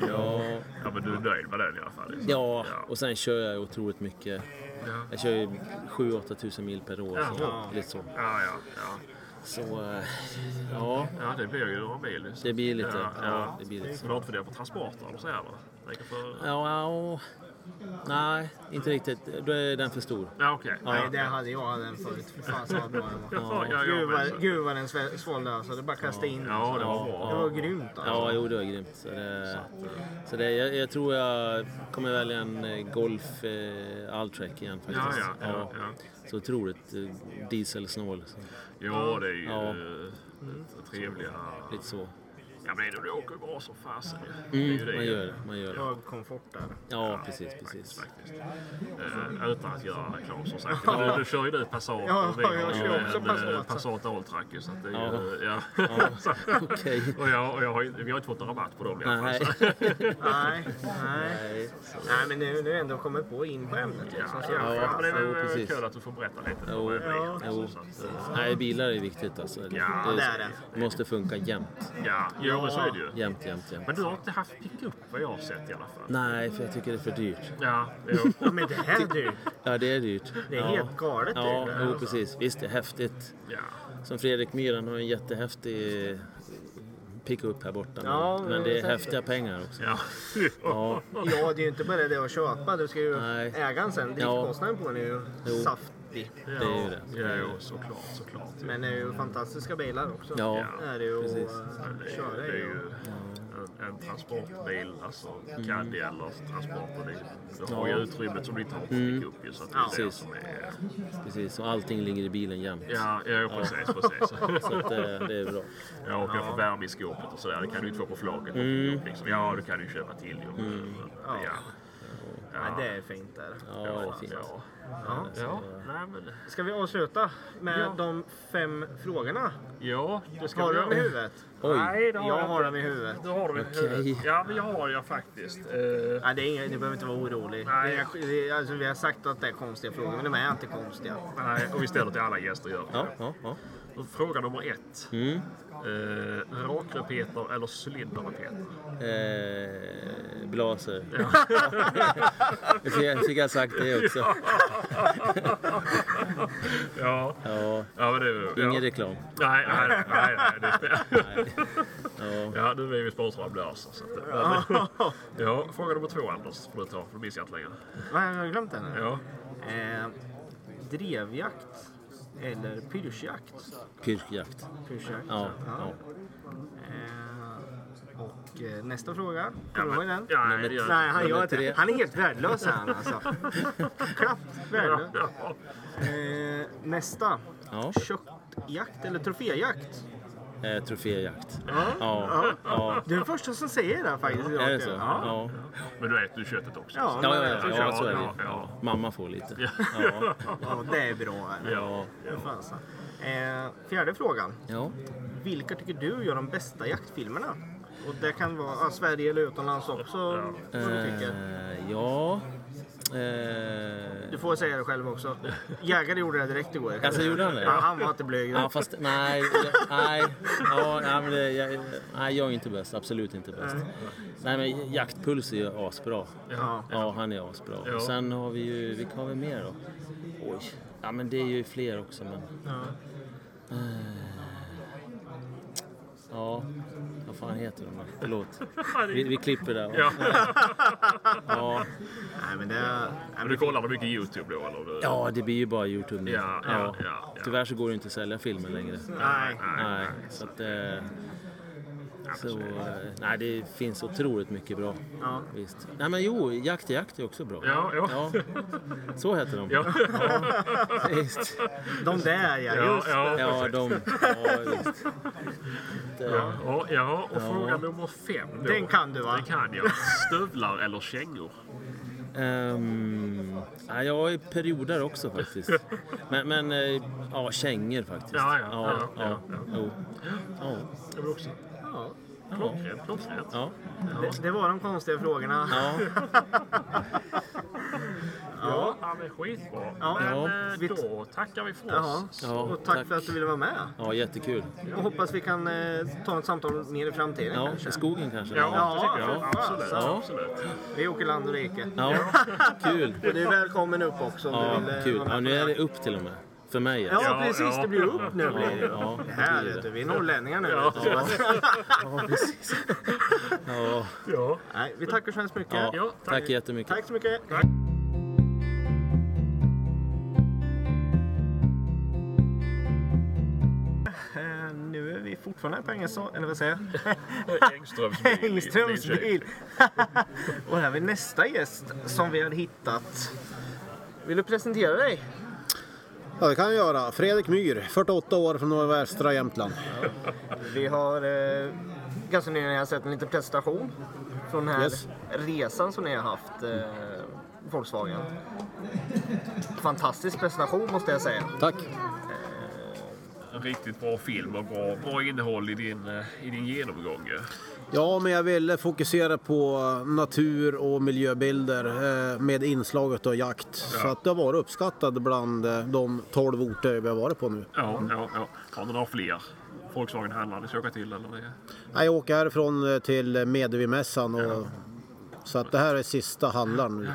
ja. ja, men du är nöjd med den i alla fall. liksom. Ja, och sen kör jag otroligt mycket. Ja. Jag kör ju 7-8 tusen mil per år. Så, Ja. lite så. Ja, ja, ja. så eh, ja, Ja, det blir ju några mil. liksom. det blir lite, Ja, ja, ja. Det blir lite Så så. du har inte funderat på transporter eller så här va? Tänker på... Ja, ja, nej, inte riktigt. Då är den för stor. Ja, okej. Nej, det hade jag den förut. Fy fan så vad bra den var. Ja, ja, ja, Gud men vad, så- gud vad den svä- svalde alltså. Det bara kastade in. ja, det var Det bra. var grymt alltså. Ja, jo, det var grymt. Så det, så det, jag, jag tror jag kommer välja en eh, Golf eh, Alltrack igen Ja, faktiskt. ja, ja. ja. Så otroligt eh, dieselsnål. Så, Ja, det är ju Ja. eh, trevliga... lite så. Ja, men det är nog- det åker ju bra som fasen ju. Det är ju Mm, det man ju, gör det. Man gör det. Hög komfort där. Ja, precis, precis. faktiskt. Eh, utan att göra reklam som sagt. Nu, nu kör ju du Passat Ja, och vi har jag ju kör också en Passat, eh, så. Passat Alltrack ju, så att det är ju... Ja. Okej. och jag, och jag har, ju- vi har inte fått någon rabatt på dem i alla fall. Nej. så- Nej, nej. Nej, men nu, nu har jag ändå kommit på in på ämnet Ja, liksom. Så ja, jag- men det är jo, väl precis. kul att du får berätta lite. Jo, vad det blir, ja. alltså, jo. så att, eh, Nej, bilar är viktigt alltså. Ja, det är det. måste funka jämt. Ja, jo, men så är det ju. Jämt, jämt, jämt. Men du har inte haft pickup vad jag har sett i alla fall? Nej, för jag tycker det är för dyrt. Ja, jo. Ja, men det här du. Ja, det är dyrt. Det är ja. helt galet Ja, dyrt. jo, precis. Visst, det är häftigt. ja. Som Fredrik Myran har en jättehäftig pickup här borta. Ja, men, det men är det är säkert. häftiga pengar också. Ja. Ja, Ja, det är ju inte bara det att köpa. Du ska ju Nej. äga den sen. Driftkostnaden på den är ju Jo. saftig. det är ju det. Ja, ja, såklart, såklart. ju. Men det är ju fantastiska bilar också. ja. Det är det ju att Precis. Men eh, det, är- köra det är i. ju en, en transportbil, alltså Caddy eller transporter. Det, det har ju utrymmet som du inte har på pickup ju, så att det är det Precis. som är... precis. Och allting ligger i bilen jämt. Ja, ja precis, precis. Så att, eh, det är bra. Ja, och jag får värme i skåpet och sådär. Det kan du inte få på flaket. Liksom. Ja, du kan ju köpa till ju. men- men- Ja. Ja. Ja, det är fint där. Ja, det är fint. Ja. Ja. Ja. Nej, men, Ska vi avsluta med Ja. de fem frågorna? ja, det ska Har vi du dem i göra. huvudet? Oj, Nej, det har Jag har inte. dem i huvudet. Det har du i Okej. huvudet. Ja, men jag har jag faktiskt. Eh, Nej, det är inget, ni behöver inte vara orolig. Nej. Det är- det är- Alltså, vi har sagt att det är konstiga frågor, men de är inte konstiga. nej, och vi ställer till alla gäster gör vi. ja, Mm. ja, ja. Fråga nummer ett. Eh, Rakrepeter eller cylinderrepeter? Eh, blaser. Jag fick- jag fick jag sagt det också. Ja, Ja, ja men det är ja. ingen reklam. Nej, nej, nej. nej, nej, det är... Ja. ja, nu är vi sponsrade av Blaser. så att- men- Ja, fråga nummer två Anders, får du ta, för det minns jag inte längre. Vad har jag glömt den? här? Ja. Eh, drevjakt eller pyrschjakt? Pyrschjakt. Pyrschjakt. Ja, ja. Eh, och eh, nästa fråga. Ja, Kommer du ihåg den? ja, nej, det gör Nej, han gör Nummer inte tre. det. Han är helt värdelös han alltså. Knappt värdelös. Ja, ja. Eh, nästa. Ja. Köttjakt eller troféjakt? Eh, troféjakt. Ja, ja. Du är den första som säger det här faktiskt. idag, Är det tror så? jag. Ja, Men du äter ju köttet också. Ja, så- ja, ja, ja, ja så är det. Ja, ja. Mamma får lite. Ja, Ja, det är bra. Här. ja. Fan, så. Eh, fjärde frågan. ja. Vilka tycker du gör de bästa jaktfilmerna? Och det kan vara ja, Sverige eller utomlands också. Vad du tycker. Eh, ja. Eh, Du får säga det själv också. Jägare gjorde det direkt igår. alltså gjorde han det? Ja, han var inte blyg. Ja, fast nej. Nej, ja, nej, men det, jag, nej, jag är inte bäst. Absolut inte bäst. Nej, men jaktpuls är ju asbra. Ja. Ja, han är asbra. Ja. Och sen har vi ju, vilka har vi mer då? Oj. Ja, men det är ju fler också, men... Eh, Ja. Ja, vad fan heter de då? Förlåt. Vi, vi klipper där. Ja. Ja. Nej, men det... Men du kollar väl mycket YouTube då? Eller? du- ja, det blir ju bara Youtube nu. Ja, ja, ja, ja. Tyvärr så går det inte att sälja filmen längre. Nej. Nej, så att... Eh, så, eh, nej, det finns otroligt mycket bra. Ja. Visst. Nej, men jo, Jakt är jakt är också bra. Ja, ja. Så heter de. Ja, Visst. De där ja, ja, just ja. Ja, de... Ja, visst. Ja. Ja, ja, och fråga nummer fem då. Den kan du, va? Den kan jag. Stövlar eller kängor? Ehm, ja, jag är perioder också faktiskt. Men, men eh, ja, kängor faktiskt. Ja, ja, ja, ja, ja. jo. ja. Jag vill också. Ja. Klockrent, klockrent. ja. Det, det var de konstiga frågorna. ja. Ja, ja men skitbra. Ja. Men eh, Ja. då tackar vi för Jaha. oss. Ja, och tack, tack. för att du ville vara med. ja jättekul. Och hoppas vi kan eh, ta ett samtal mer i framtiden Ja, kanske. i skogen kanske? Ja, det tycker jag. Ja. Absolut. Ja. absolut. Vi åker land och rike. ja. kul. Och du är välkommen upp också om Ja, du vill eh, kul. vara med Ja, på nu är det här. upp till och med. För mig Ja, alltså. Ja, precis, ja. det blir upp nu. blir det ju. ja, Det ja, här vet det du, blir det. vi är norrlänningar nu. Ja. vet du. ja, precis. Ja, Ja. Nej, vi tackar så hemskt mycket. ja. Tack jättemycket. Tack så mycket. Eh, Nu är vi fortfarande på Engelsson, eller vad säger jag? Engströms bil. Engströms Linköping. bil. Och här är nästa gäst som vi har hittat. Vill du presentera dig? Ja, det kan jag göra. Fredrik Myhr, 48 år från nordvästra Jämtland. Vi har eh, ganska nyligen här sett en liten presentation från den här Yes. resan som ni har haft, eh, Volkswagen. Fantastisk presentation måste jag säga. Tack. En riktigt bra film och bra, bra innehåll i din, eh, i din genomgång. ju. Ja, men jag ville fokusera på natur och miljöbilder eh, med inslaget av jakt. Så att det har varit uppskattat bland eh, de 12 orter vi har varit på nu. Ja, ja, ja. Har ni några fler Volkswagen-handlare ni ska åka till? Eller? det- Nej, Jag åker härifrån eh, till Medevimässan. Och... Så att det här är sista handlaren nu.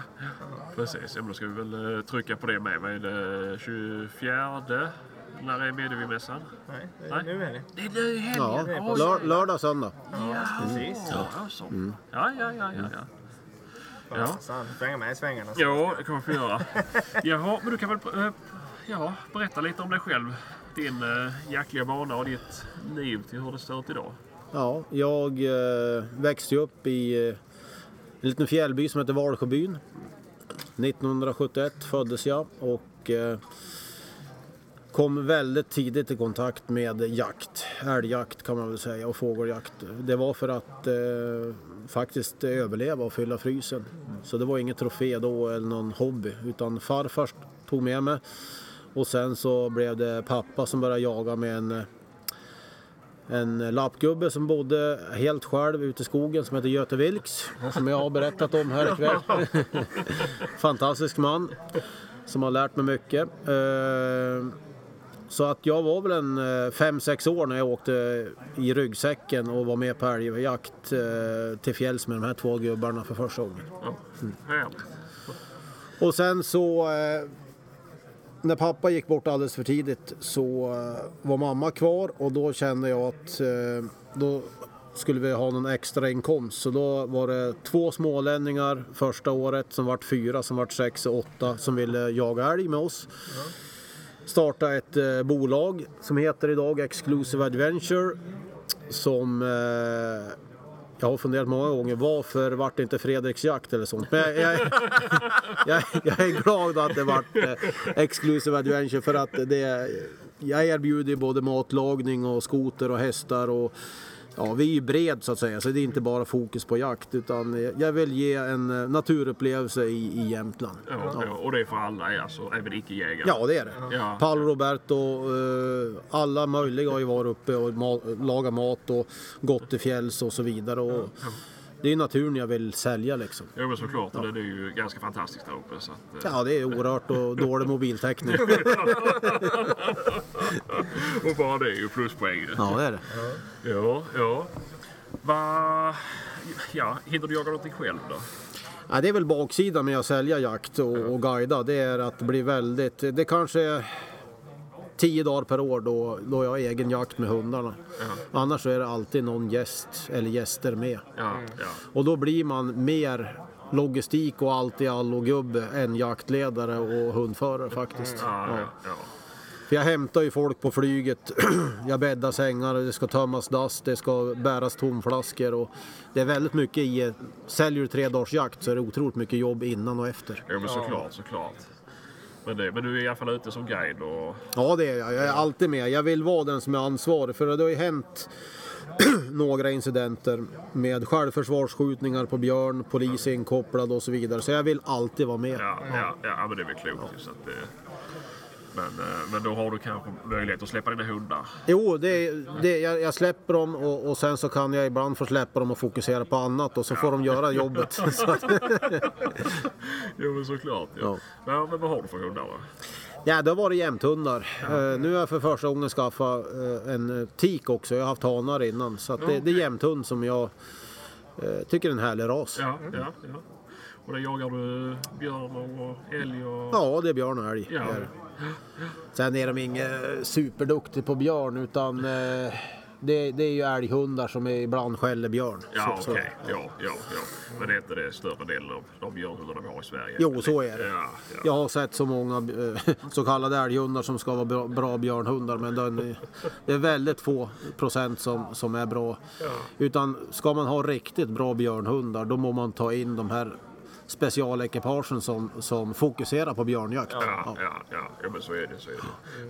Precis, ja, men då ska vi väl eh, trycka på det med. Vad är det? 24 När är Medevimässan? Nej, det- Nej. nu är det. Det är nu i helgen! Ja, Ja, lör, lördag, Mm. söndag. Precis. ja, så. ja, ja, ja, ja, ja. Ja. Fasen, Svänga med i svängarna. Ja, det kommer vi få göra. Jaha, men du kan väl eh, ja, berätta lite om dig själv. Din eh, jäkliga bana och ditt liv till hur det ser ut idag. Ja, jag eh, växte ju upp i eh, en liten fjällby som heter Valsjöbyn. 1971 föddes jag och eh, kom väldigt tidigt i kontakt med jakt. Älgjakt kan man väl säga och fågeljakt. Det var för att eh, faktiskt överleva och fylla frysen. Så det var inget trofé då eller någon hobby utan farfar tog med mig och sen så blev det pappa som började jaga med en eh, en lappgubbe som bodde helt själv ute i skogen som heter Göte Vilks. Som jag har berättat om här ikväll. Fantastisk man. Som har lärt mig mycket. Eh, Så att jag var väl en 5-6 år när jag åkte i ryggsäcken och var med på älgjakt eh, till fjälls med de här två gubbarna för första gången. Ja. Härligt. Och sen så eh, när pappa gick bort alldeles för tidigt så eh, var mamma kvar och då kände jag att eh, då skulle vi ha någon extra inkomst. Så då var det två smålänningar första året som vart fyra, som vart sex och åtta som ville jaga älg med oss. Starta ett eh, bolag som heter idag Exclusive Adventure som eh, jag har funderat många gånger varför vart det inte Fredriks jakt eller sånt. Men jag, jag, jag, jag är glad att det vart eh, Exclusive Adventure för att det, jag erbjuder ju både matlagning och skoter och hästar och ja, vi är ju bred så att säga så det är inte bara fokus på jakt utan eh, jag vill ge en eh, naturupplevelse i, i Jämtland. Ja, ja. Och det är för alla, ja, alltså, även icke-jägare. Ja, det är det. Ja. Paolo Roberto, eh, alla möjliga har ju varit uppe och ma- lagat mat och gått till fjälls och så vidare. Och det är ju naturen jag vill sälja liksom. Jo, men såklart. Och det är ju ganska fantastiskt där uppe. Så att, eh, Ja, det är orört och dålig mobiltäckning. och bara det är ju pluspoäng. Ja, Ja, det är det. ja. ja. Va... Ja, hinner du jaga någonting själv då? Ja, det är väl baksidan med att sälja jakt och, och guida. Det är att bli väldigt... Det kanske är tio dagar per år då, då jag har egen jakt med hundarna. Annars så är det alltid någon gäst eller gäster med. Ja, ja. Och då blir man mer logistik och allt i allo gubbe än jaktledare och hundförare faktiskt. Ja, ja, Ja. ja. För jag hämtar ju folk på flyget, jag bäddar sängar, det ska tömmas dass, det ska bäras tomflaskor och det är väldigt mycket i, ett- säljer du tre dagars jakt så är det otroligt mycket jobb innan och efter. Jo, men såklart, såklart. Men, det, men du är i alla fall ute som guide och... Ja det är jag, jag är alltid med. Jag vill vara den som är ansvarig för det har ju hänt några incidenter med självförsvarsskjutningar på björn, polis är inkopplad och så vidare. Så jag vill alltid vara med. Ja, ja, ja men det är väl klokt. ju, Så att, eh, men, eh, men då har du kanske möjlighet att släppa dina hundar. Jo, det, det, jag, jag släpper dem och, och sen så kan jag ibland få släppa dem och fokusera på annat och så får de göra jobbet. Så att, Jo, men såklart. Ja. Ja, men vad har du för hundar då? ja, det har varit jämthundar. Eh, nu har jag för första gången skaffat eh, en eh, tik också. Jag har haft hanar innan. Så att det, det är jämthund som jag eh, tycker är en härlig ras. Ja, ja, ja. Och där jagar du björn och älg och... Ja, det är björn och älg. Ja. Det är det. Sen är de inget superduktiga på björn utan eh, det, det är ju älghundar som är ibland skäller björn. Ja, Så- så- okej. Ja, ja, ja. Men det är inte det större delen av de björnhundarna vi har i Sverige? Jo, så är det. Ja, ja. Jag har sett så många eh, så kallade älghundar som ska vara bra, bra björnhundar men den är, det är väldigt få procent som, som är bra. Utan ska man ha riktigt bra björnhundar då må man ta in de här specialekipagen som, som fokuserar på björnjakt. Ja, ja, ja. ja, men så är det. Så är det.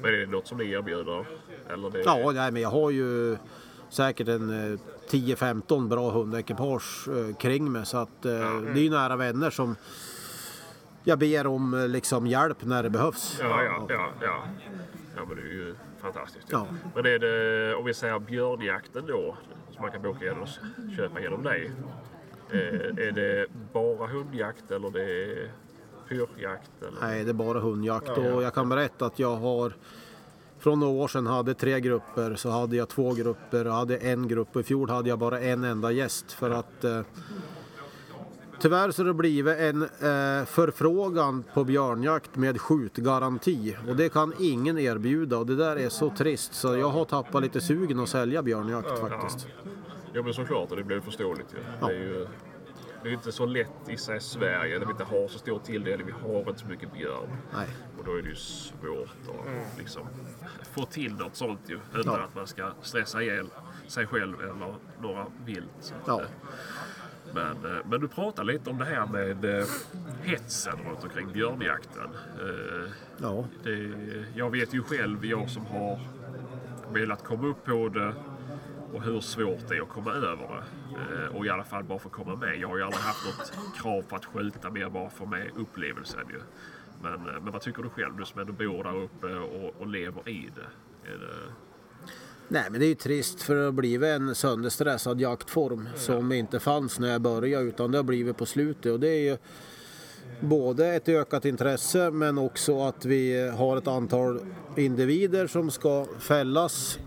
Men är det något som ni erbjuder? Eller det... Ja, nej, men jag har ju säkert en eh, 10-15 bra hundekipage eh, kring mig så att eh, det är ju nära vänner som jag ber om eh, liksom hjälp när det behövs. Ja, ja, ja, ja. Ja, men det är ju fantastiskt. Ja. Men är det, om vi säger björnjakten då, som man kan boka genom, köpa genom dig. Eh, är det bara hundjakt eller det är pyrjakt? Eller? Nej, det är bara hundjakt och jag kan berätta att jag har från några år sedan hade tre grupper, så hade jag två grupper och hade en grupp. Och I fjol hade jag bara en enda gäst för att eh, Tyvärr så har det blivit en eh, förfrågan på björnjakt med skjutgaranti och det kan ingen erbjuda och det där är så trist så jag har tappat lite sugen att sälja björnjakt faktiskt. Jo men såklart, och det blir förståeligt ju. Det är ju det är inte så lätt i sig i Sverige där vi inte har så stor tilldelning. Vi har inte så mycket björn. Nej. Och då är det ju svårt att liksom, få till något sånt ju. Utan Ja. att man ska stressa ihjäl sig själv eller några vilt. Så att, Ja. eh, Men, eh, men du pratade lite om det här med eh, hetsen runt omkring björnjakten. Eh, Ja. det, jag vet ju själv, jag som har velat komma upp på det och hur svårt det är att komma över det. Eh, Och i alla fall bara för att komma med. Jag har ju aldrig haft något krav på att skjuta mer bara för med upplevelsen ju. Men, eh, men vad tycker du själv, du som ändå bor där uppe och, och lever i det? Är det Nej men det är ju trist för det har blivit en sönderstressad jaktform som inte fanns när jag började utan det har blivit på slutet och det är ju både ett ökat intresse men också att vi har ett antal individer som ska fällas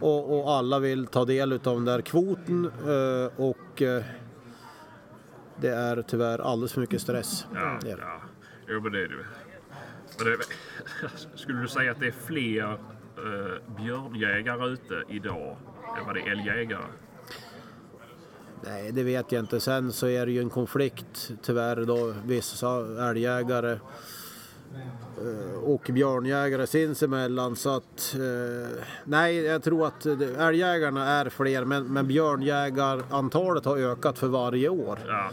och, och alla vill ta del av den där kvoten eh, och eh, det är tyvärr alldeles för mycket stress. Ja, Det är det. ja. Jo, men det är det ju. Men det, skulle du säga att det är fler eh, björnjägare ute idag än vad det är älgjägare? Nej, det vet jag inte. Sen så är det ju en konflikt tyvärr då vissa älgjägare eh, och björnjägare sinsemellan. Så att, eh, nej, jag tror att det- älgjägarna är fler men, men björnjägarantalet har ökat för varje år. Ja,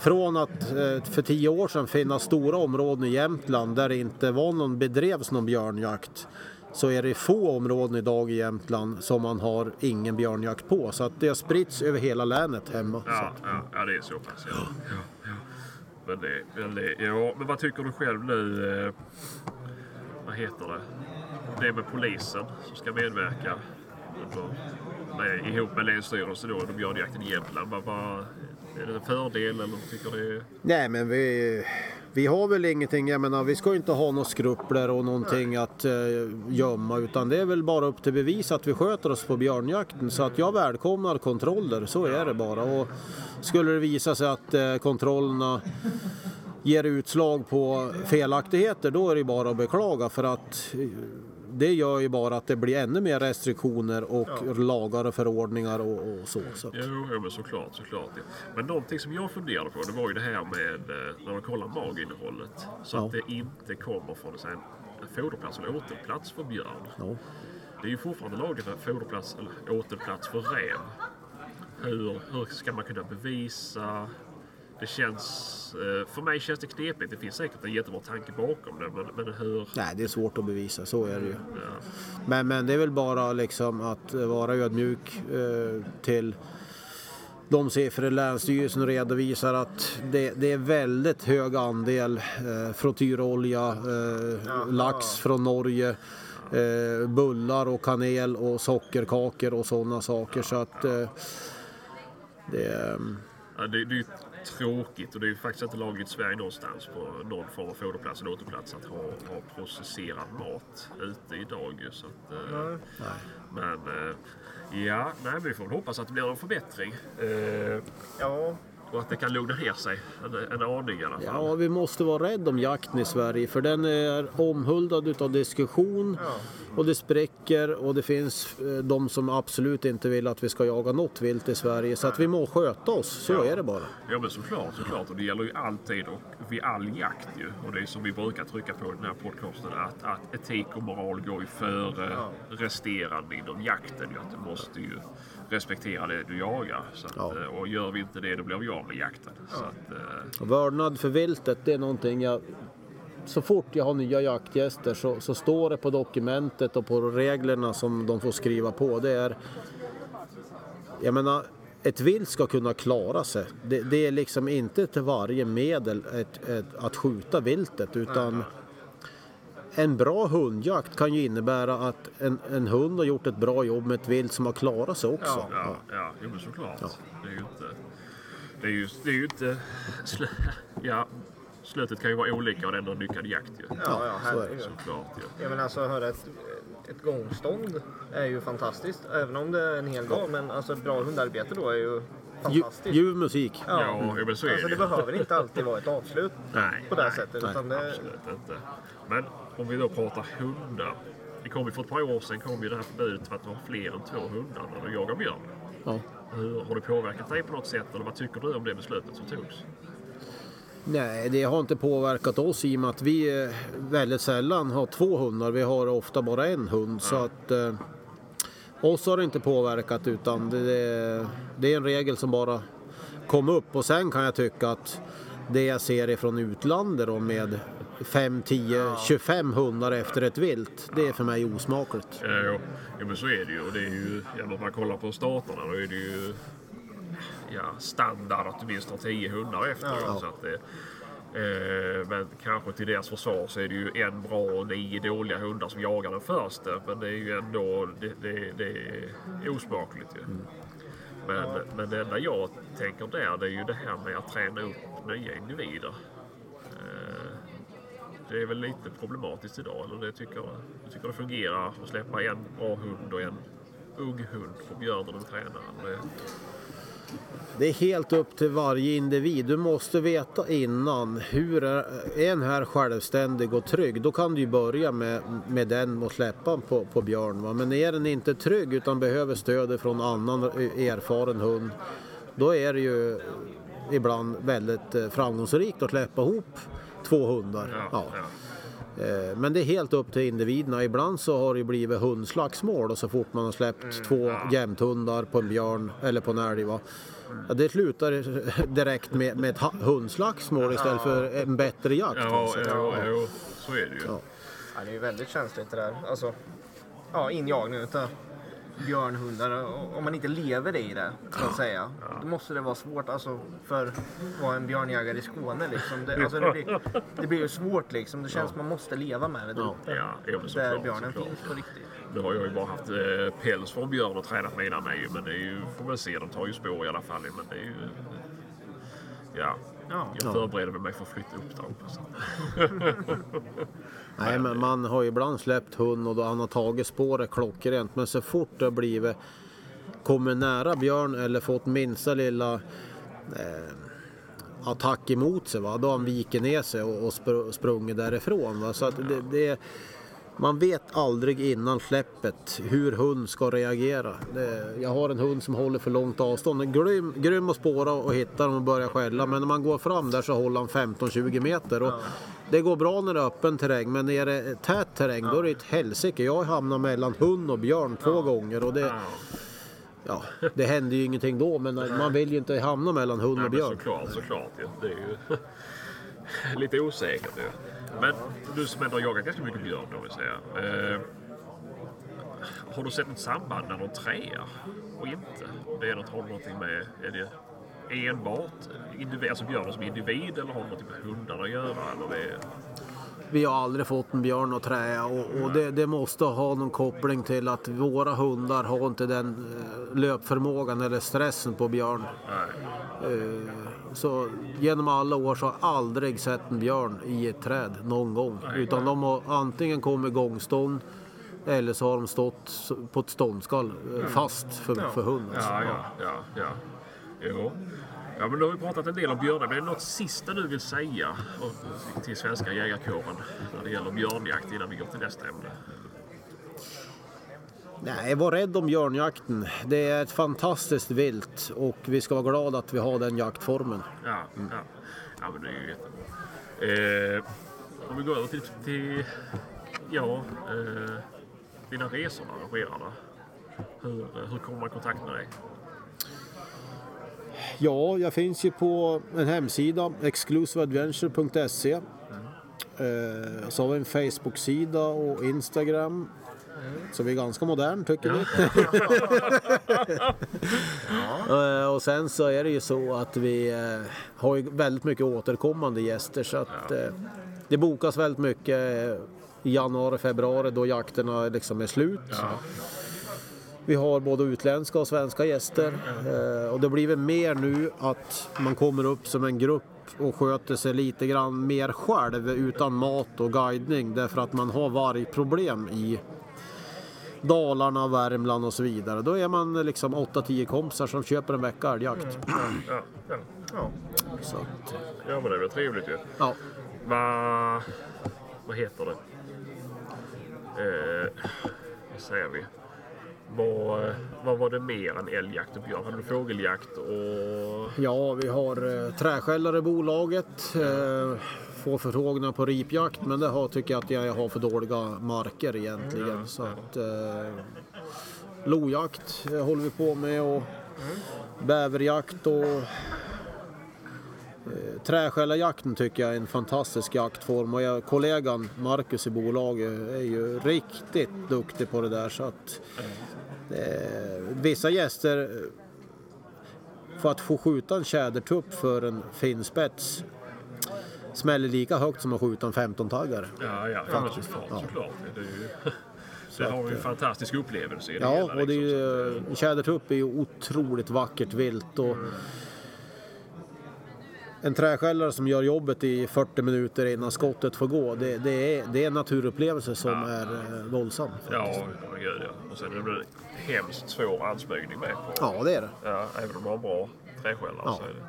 Från att eh, för tio år sedan finnas stora områden i Jämtland där det inte var någon, bedrevs någon björnjakt så är det få områden idag i Jämtland som man har ingen björnjakt på. Så att det har spritts över hela länet hemma. ja, ja, ja det är så pass. Ja. Ja, ja. Men, det, men, det, ja, men vad tycker du själv nu? Eh, vad heter det? Det med polisen som ska medverka under, nej, ihop med länsstyrelsen då under björnjakten i Jämtland. Vad, vad, är det en fördel eller tycker du det är... Nej men vi, vi har väl ingenting, jag menar vi ska ju inte ha några skrupler och någonting att eh, gömma utan det är väl bara upp till bevis att vi sköter oss på björnjakten så att jag välkomnar kontroller, så är det bara. Och skulle det visa sig att eh, kontrollerna ger utslag på felaktigheter då är det ju bara att beklaga för att eh, det gör ju bara att det blir ännu mer restriktioner och lagar och förordningar och, och så. så. att- Jo, jo men såklart, såklart. Ja. Men någonting som jag funderade på det var ju det här med eh, när man kollar maginnehållet. Så Ja. att det inte kommer från så här, en foderplats eller återplats för björn. Ja. Det är ju fortfarande lagen med foderplats eller återplats för räv. Hur, hur ska man kunna bevisa? Det känns... eh, För mig känns det knepigt. Det finns säkert en jättebra tanke bakom det, men, men hur... Nej, det är svårt att bevisa, så är det ju. Alltså. Ja. Men, men det är väl bara liksom att vara ödmjuk eh, till de siffror Länsstyrelsen redovisar att det, det är väldigt hög andel eh, frottyrolja, eh, lax från Norge, eh, bullar och kanel och sockerkakor och sådana saker. Så att eh, det, ehm, Ja, det, det är ju tråkigt och det är ju faktiskt inte lagligt i Sverige någonstans på någon form av foderplats eller återplats att ha, ha processerad mat ute idag. ju, Så att, eh, Men eh, ja, nej, men vi får väl hoppas att det blir någon förbättring eh, Ja, och att det kan lugna ner sig en, en aning i alla fall. Ja, vi måste vara rädda om jakten i Sverige för den är omhuldad utav diskussion och det spräcker och det finns eh, de som absolut inte vill att vi ska jaga något vilt i Sverige så att vi må sköta oss, så är det bara. Ja men såklart, såklart. Och det gäller ju alltid och vid all jakt ju. Och det är som vi brukar trycka på i den här podcasten att, att etik och moral går ju före resterande inom jakten. Ju. Att du måste ju respektera det du jagar. Så att, Ja. eh, Och gör vi inte det då blir vi av med jakten. Så att, eh, Och Vördnad för viltet, det är någonting jag så fort jag har nya jaktgäster så, så står det på dokumentet och på reglerna som de får skriva på. Det är, jag menar, ett vilt ska kunna klara sig. Det, det är liksom inte till varje medel ett, ett, att skjuta viltet utan en bra hundjakt kan ju innebära att en, en hund har gjort ett bra jobb med ett vilt som har klarat sig också. ja, ja, jo men såklart. Det är ju inte... Det är ju, det är ju inte... Sl- ja, slutet kan ju vara olika och det är ändå en lyckad jakt ju. ja, ja så är det. herregud. Såklart ju. Jag menar alltså höra ett, ett gångstånd är ju fantastiskt. Även om det är en hel dag. Men alltså bra hundarbete då är ju fantastiskt. Ljuv musik. Ja. Ja, jo, men så är Alltså det det ju. behöver inte alltid vara ett avslut Nej, på det här nej, sättet. nej, utan det, Absolut inte. Men om vi då pratar hundar. Det kom ju för ett par år sedan kom ju det här förbudet för att ha fler än två hundar när du jagar björn. Ja. Hur, har det påverkat dig på något sätt eller vad tycker du om det beslutet som togs? Nej, det har inte påverkat oss i och med att vi eh, väldigt sällan har två hundar. Vi har ofta bara en hund. Så att eh, oss har det inte påverkat utan det, det, det är en regel som bara kom upp. Och sen kan jag tycka att det jag ser ifrån utlandet då med 5, 10, 25 hundar efter ett vilt. Det är för mig osmakligt. Eh, Jo, jo men så är det ju. Och det är ju ja, om man kollar på staterna då är det ju ja, standard att du minst har 10 hundar efter. Så att det, eh, men kanske till deras försvar så är det ju en bra och nio dåliga hundar som jagar den första. Men det är ju ändå det, det, det är osmakligt ju. Men, men det enda jag tänker där det är ju det här med att träna upp nya individer. Eh, det är väl lite problematiskt idag, eller det tycker jag. Jag tycker det fungerar att släppa en bra hund och en ung hund på björnen och tränaren. Det, Det är helt upp till varje individ. Du måste veta innan hur är är den här självständig och trygg. Då kan du ju börja med, med den och släppa på, på björn. Va? Men är den inte trygg utan behöver stöd från annan e, erfaren hund. Då är det ju ibland väldigt eh, framgångsrikt att släppa ihop två hundar. ja, Ja. ja. Eh, Men det är helt upp till individerna. Ibland så har det blivit hundslagsmål och så fort man har släppt Mm, två jämthundar på en björn eller på en älg. Va? Ja, det slutar direkt med, med ett ha- hundslagsmål istället för en bättre jakt. Ja, alltså. ja, ja, ja, så är det ju. Ja. ja, det är ju väldigt känsligt det där. Alltså, ja, injagning utav björnhundar. Och Om man inte lever i det, så att säga, då måste det vara svårt alltså, för att vara en björnjägare i Skåne. Liksom. Det, alltså, det, blir, det blir ju svårt liksom. Det känns som man måste leva med det. där uppe. Ja, jo, men där såklart, björnen såklart. finns på riktigt. Nu har jag ju bara haft eh, päls från björn och tränat mina med ju, men det är ju, får väl se, de tar ju spår i alla fall. Men det är ju, ja. Ja. Jag förbereder mig för att flytta upp dem. Så. Nej, men man har ju ibland släppt hund och då han har tagit spåret klockrent. Men så fort det har blivit kommer nära björn eller fått minsta lilla eh, attack emot sig, va? då har han viker ner sig och, och spr- sprungit därifrån. Va? Så att det, det, man vet aldrig innan släppet hur hund ska reagera. Det, jag har en hund som håller för långt avstånd. Den är Grym, grym att spåra och hitta dem och börja skälla. Men när man går fram där så håller han 15-20 meter. Och det går bra när det är öppen terräng, men är det tät terräng då är det ett helsike. Jag hamnar mellan hund och björn två gånger. Och det, ja, det händer ju ingenting då, men man vill ju inte hamna mellan hund Nej, och men björn. såklart, såklart. ju. Det är ju lite osäkert ju. Men du som ändå har jagat ganska mycket björn då vill säga. Eh, har du sett något samband mellan de träar och inte? Om Det är något, har det någonting med, är det enbart individ, alltså björnen som individ eller har det någonting med hundarna att göra? Eller det, Vi har aldrig fått en björn att trä och, och det, det måste ha någon koppling till att våra hundar har inte den eh, löpförmågan eller stressen på björn. nej. Eh, Så genom alla år så har jag aldrig sett en björn i ett träd någon gång. Utan de har antingen kommit gångstånd eller så har de stått s- på ett ståndskall eh, fast för, för hund. Alltså. Mm. Ja, ja, ja. ja. Jo. Ja, men då har vi pratat en del om björnar, men är det något sista du vill säga och- till svenska jägarkåren när det gäller björnjakt innan vi går till nästa ämne? Nej, var rädd om björnjakten. Det är ett fantastiskt vilt och vi ska vara glada att vi har den jaktformen. Ja, ja. ja men det är ju jättebra. Eh, om vi går över till, till ja, eh, dina resor och arrangerarna. Hur, eh, hur kommer man i kontakt med dig? Ja, jag finns ju på en hemsida, exclusiveadventure.se. Eh, så har vi en Facebook-sida och Instagram. Så vi är ganska modern tycker vi. Eh, och sen så är det ju så att vi eh, har ju väldigt mycket återkommande gäster så att eh, det bokas väldigt mycket eh, i januari, februari då jakterna liksom är slut. Vi har både utländska och svenska gäster eh, och det blir väl mer nu att man kommer upp som en grupp och sköter sig lite grann mer själv utan mat och guidning därför att man har vargproblem i Dalarna, Värmland och så vidare. Då är man liksom 8-10 kompisar som köper en vecka älgjakt. Ja, ja. Ja. Så att, ja men det är väl trevligt ju. ja. Vad... Vad heter det? Eh, vad säger vi? Vad, vad var det mer än älgjakt och björn? Hade du fågeljakt och... ja, vi har eh, träskällare i bolaget. Eh, får förfrågningar på ripjakt men det har, tycker jag att jag har för dåliga marker egentligen. Så att, eh, lojakt eh, håller vi på med och bäverjakt och eh, träskällarjakten tycker jag är en fantastisk jaktform och jag, kollegan Marcus i bolaget är ju riktigt duktig på det där så att eh, vissa gäster för att få skjuta en tjädertupp för en finspets smäller lika högt som att skjuta en 15-taggare. Ja, ja, fart såklart. Det, är ju, eh, det har vi en fantastisk upplevelse i det Ja, hela, och det är liksom. ju, en tjädertupp är ju otroligt vackert vilt. Och En träskällare som gör jobbet i 40 minuter innan skottet får gå, det, det, är, det är en naturupplevelse som är eh, våldsam. Ja, herregud ja. Och sen är det en hemskt svår ansmygning med på. Ja, det är det. Ja, även om man har bra träskällare Ja. så är det...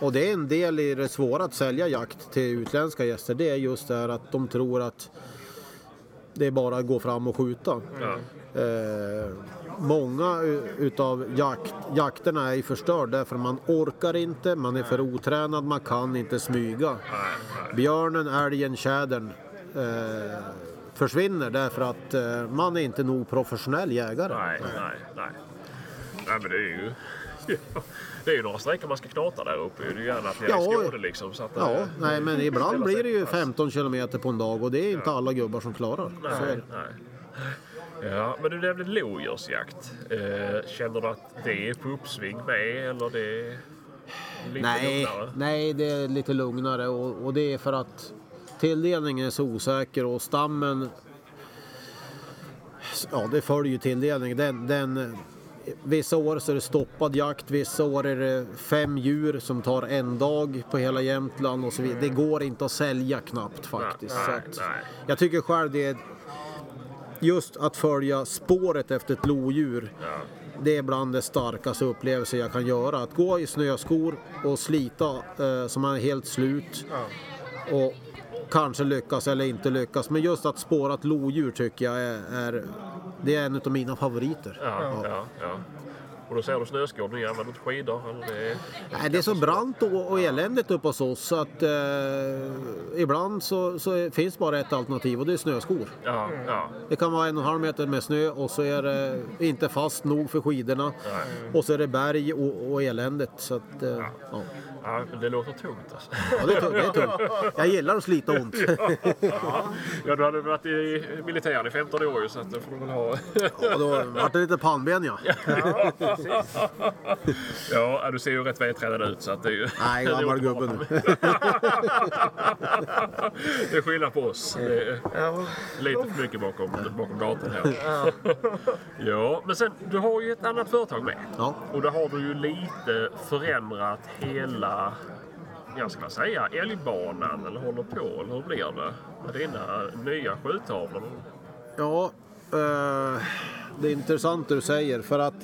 Och det är en del i det svåra att sälja jakt till utländska gäster. Det är just det här att de tror att det är bara att gå fram och skjuta. Ja, Eh, många u- utav jakt, jakterna är ju förstörd därför man orkar inte, man är för otränad, man kan inte smyga. nej, nej. Björnen, älgen, tjädern eh, försvinner därför att eh, man är inte nog professionell jägare. Nej, nej, nej. Nej, men det är ju... Det är ju några sträckor man ska knata där uppe. Det är ju gärna flera Ja. ja. skådor liksom. Så att, Ja, eh, nej men ibland ställa blir sig det ju fast. 15 kilometer på en dag och det är inte alla gubbar som klarar. Så är Nej, det. nej. Ja, men du nämnde lodjursjakt. Eh, känner du att det är på uppsving med eller det är lite Nej, lugnare? nej, det är lite lugnare och, och det är för att tilldelningen är så osäker och stammen, ja det följer ju tilldelningen. Den, den, vissa år så är det stoppad jakt, vissa år är det fem djur som tar en dag på hela Jämtland och så vidare. Det går inte att sälja knappt faktiskt. Nej, så nej, att, nej. Jag tycker själv det är just att följa spåret efter ett lodjur Ja. det är bland det starkaste upplevelser jag kan göra. Att gå i snöskor och slita eh, som man är helt slut Ja. och kanske lyckas eller inte lyckas. Men just att spåra ett lodjur tycker jag är, är det är en av mina favoriter. Ja, ja, ja. Och då ser du snöskor, ni använder inte skidor? Eller det är... Nej, det är så brant och, och eländigt uppe hos oss så att eh, ibland så, så är- finns bara ett alternativ och det är snöskor. Ja, ja, Det kan vara en och en halv meter med snö och så är det inte fast nog för skidorna. Nej. Och så är det berg och, och eländet. Så att, eh, ja. ja. men Det låter tungt alltså. Ja, det är tungt. Det är tungt. Jag gillar att slita ont. Ja, du hade varit i militären i 15 år ju, så att då får du väl ha... Ja, då vart det lite pannben ja. Ja, du ser ju rätt vältränad ut så att det är ju... Nej, det är gammal uppenbart. gubbe nu. Det är skillnad på oss. Det är Ja. lite för mycket bakom, bakom datorn här. Ja, men sen, du har ju ett annat företag med. Ja. Och där har du ju lite förändrat hela, jag ska säga, älgbanan eller håller på, eller hur blir det? Med dina nya skjuttavlor. Ja, eh, det är intressant det du säger för att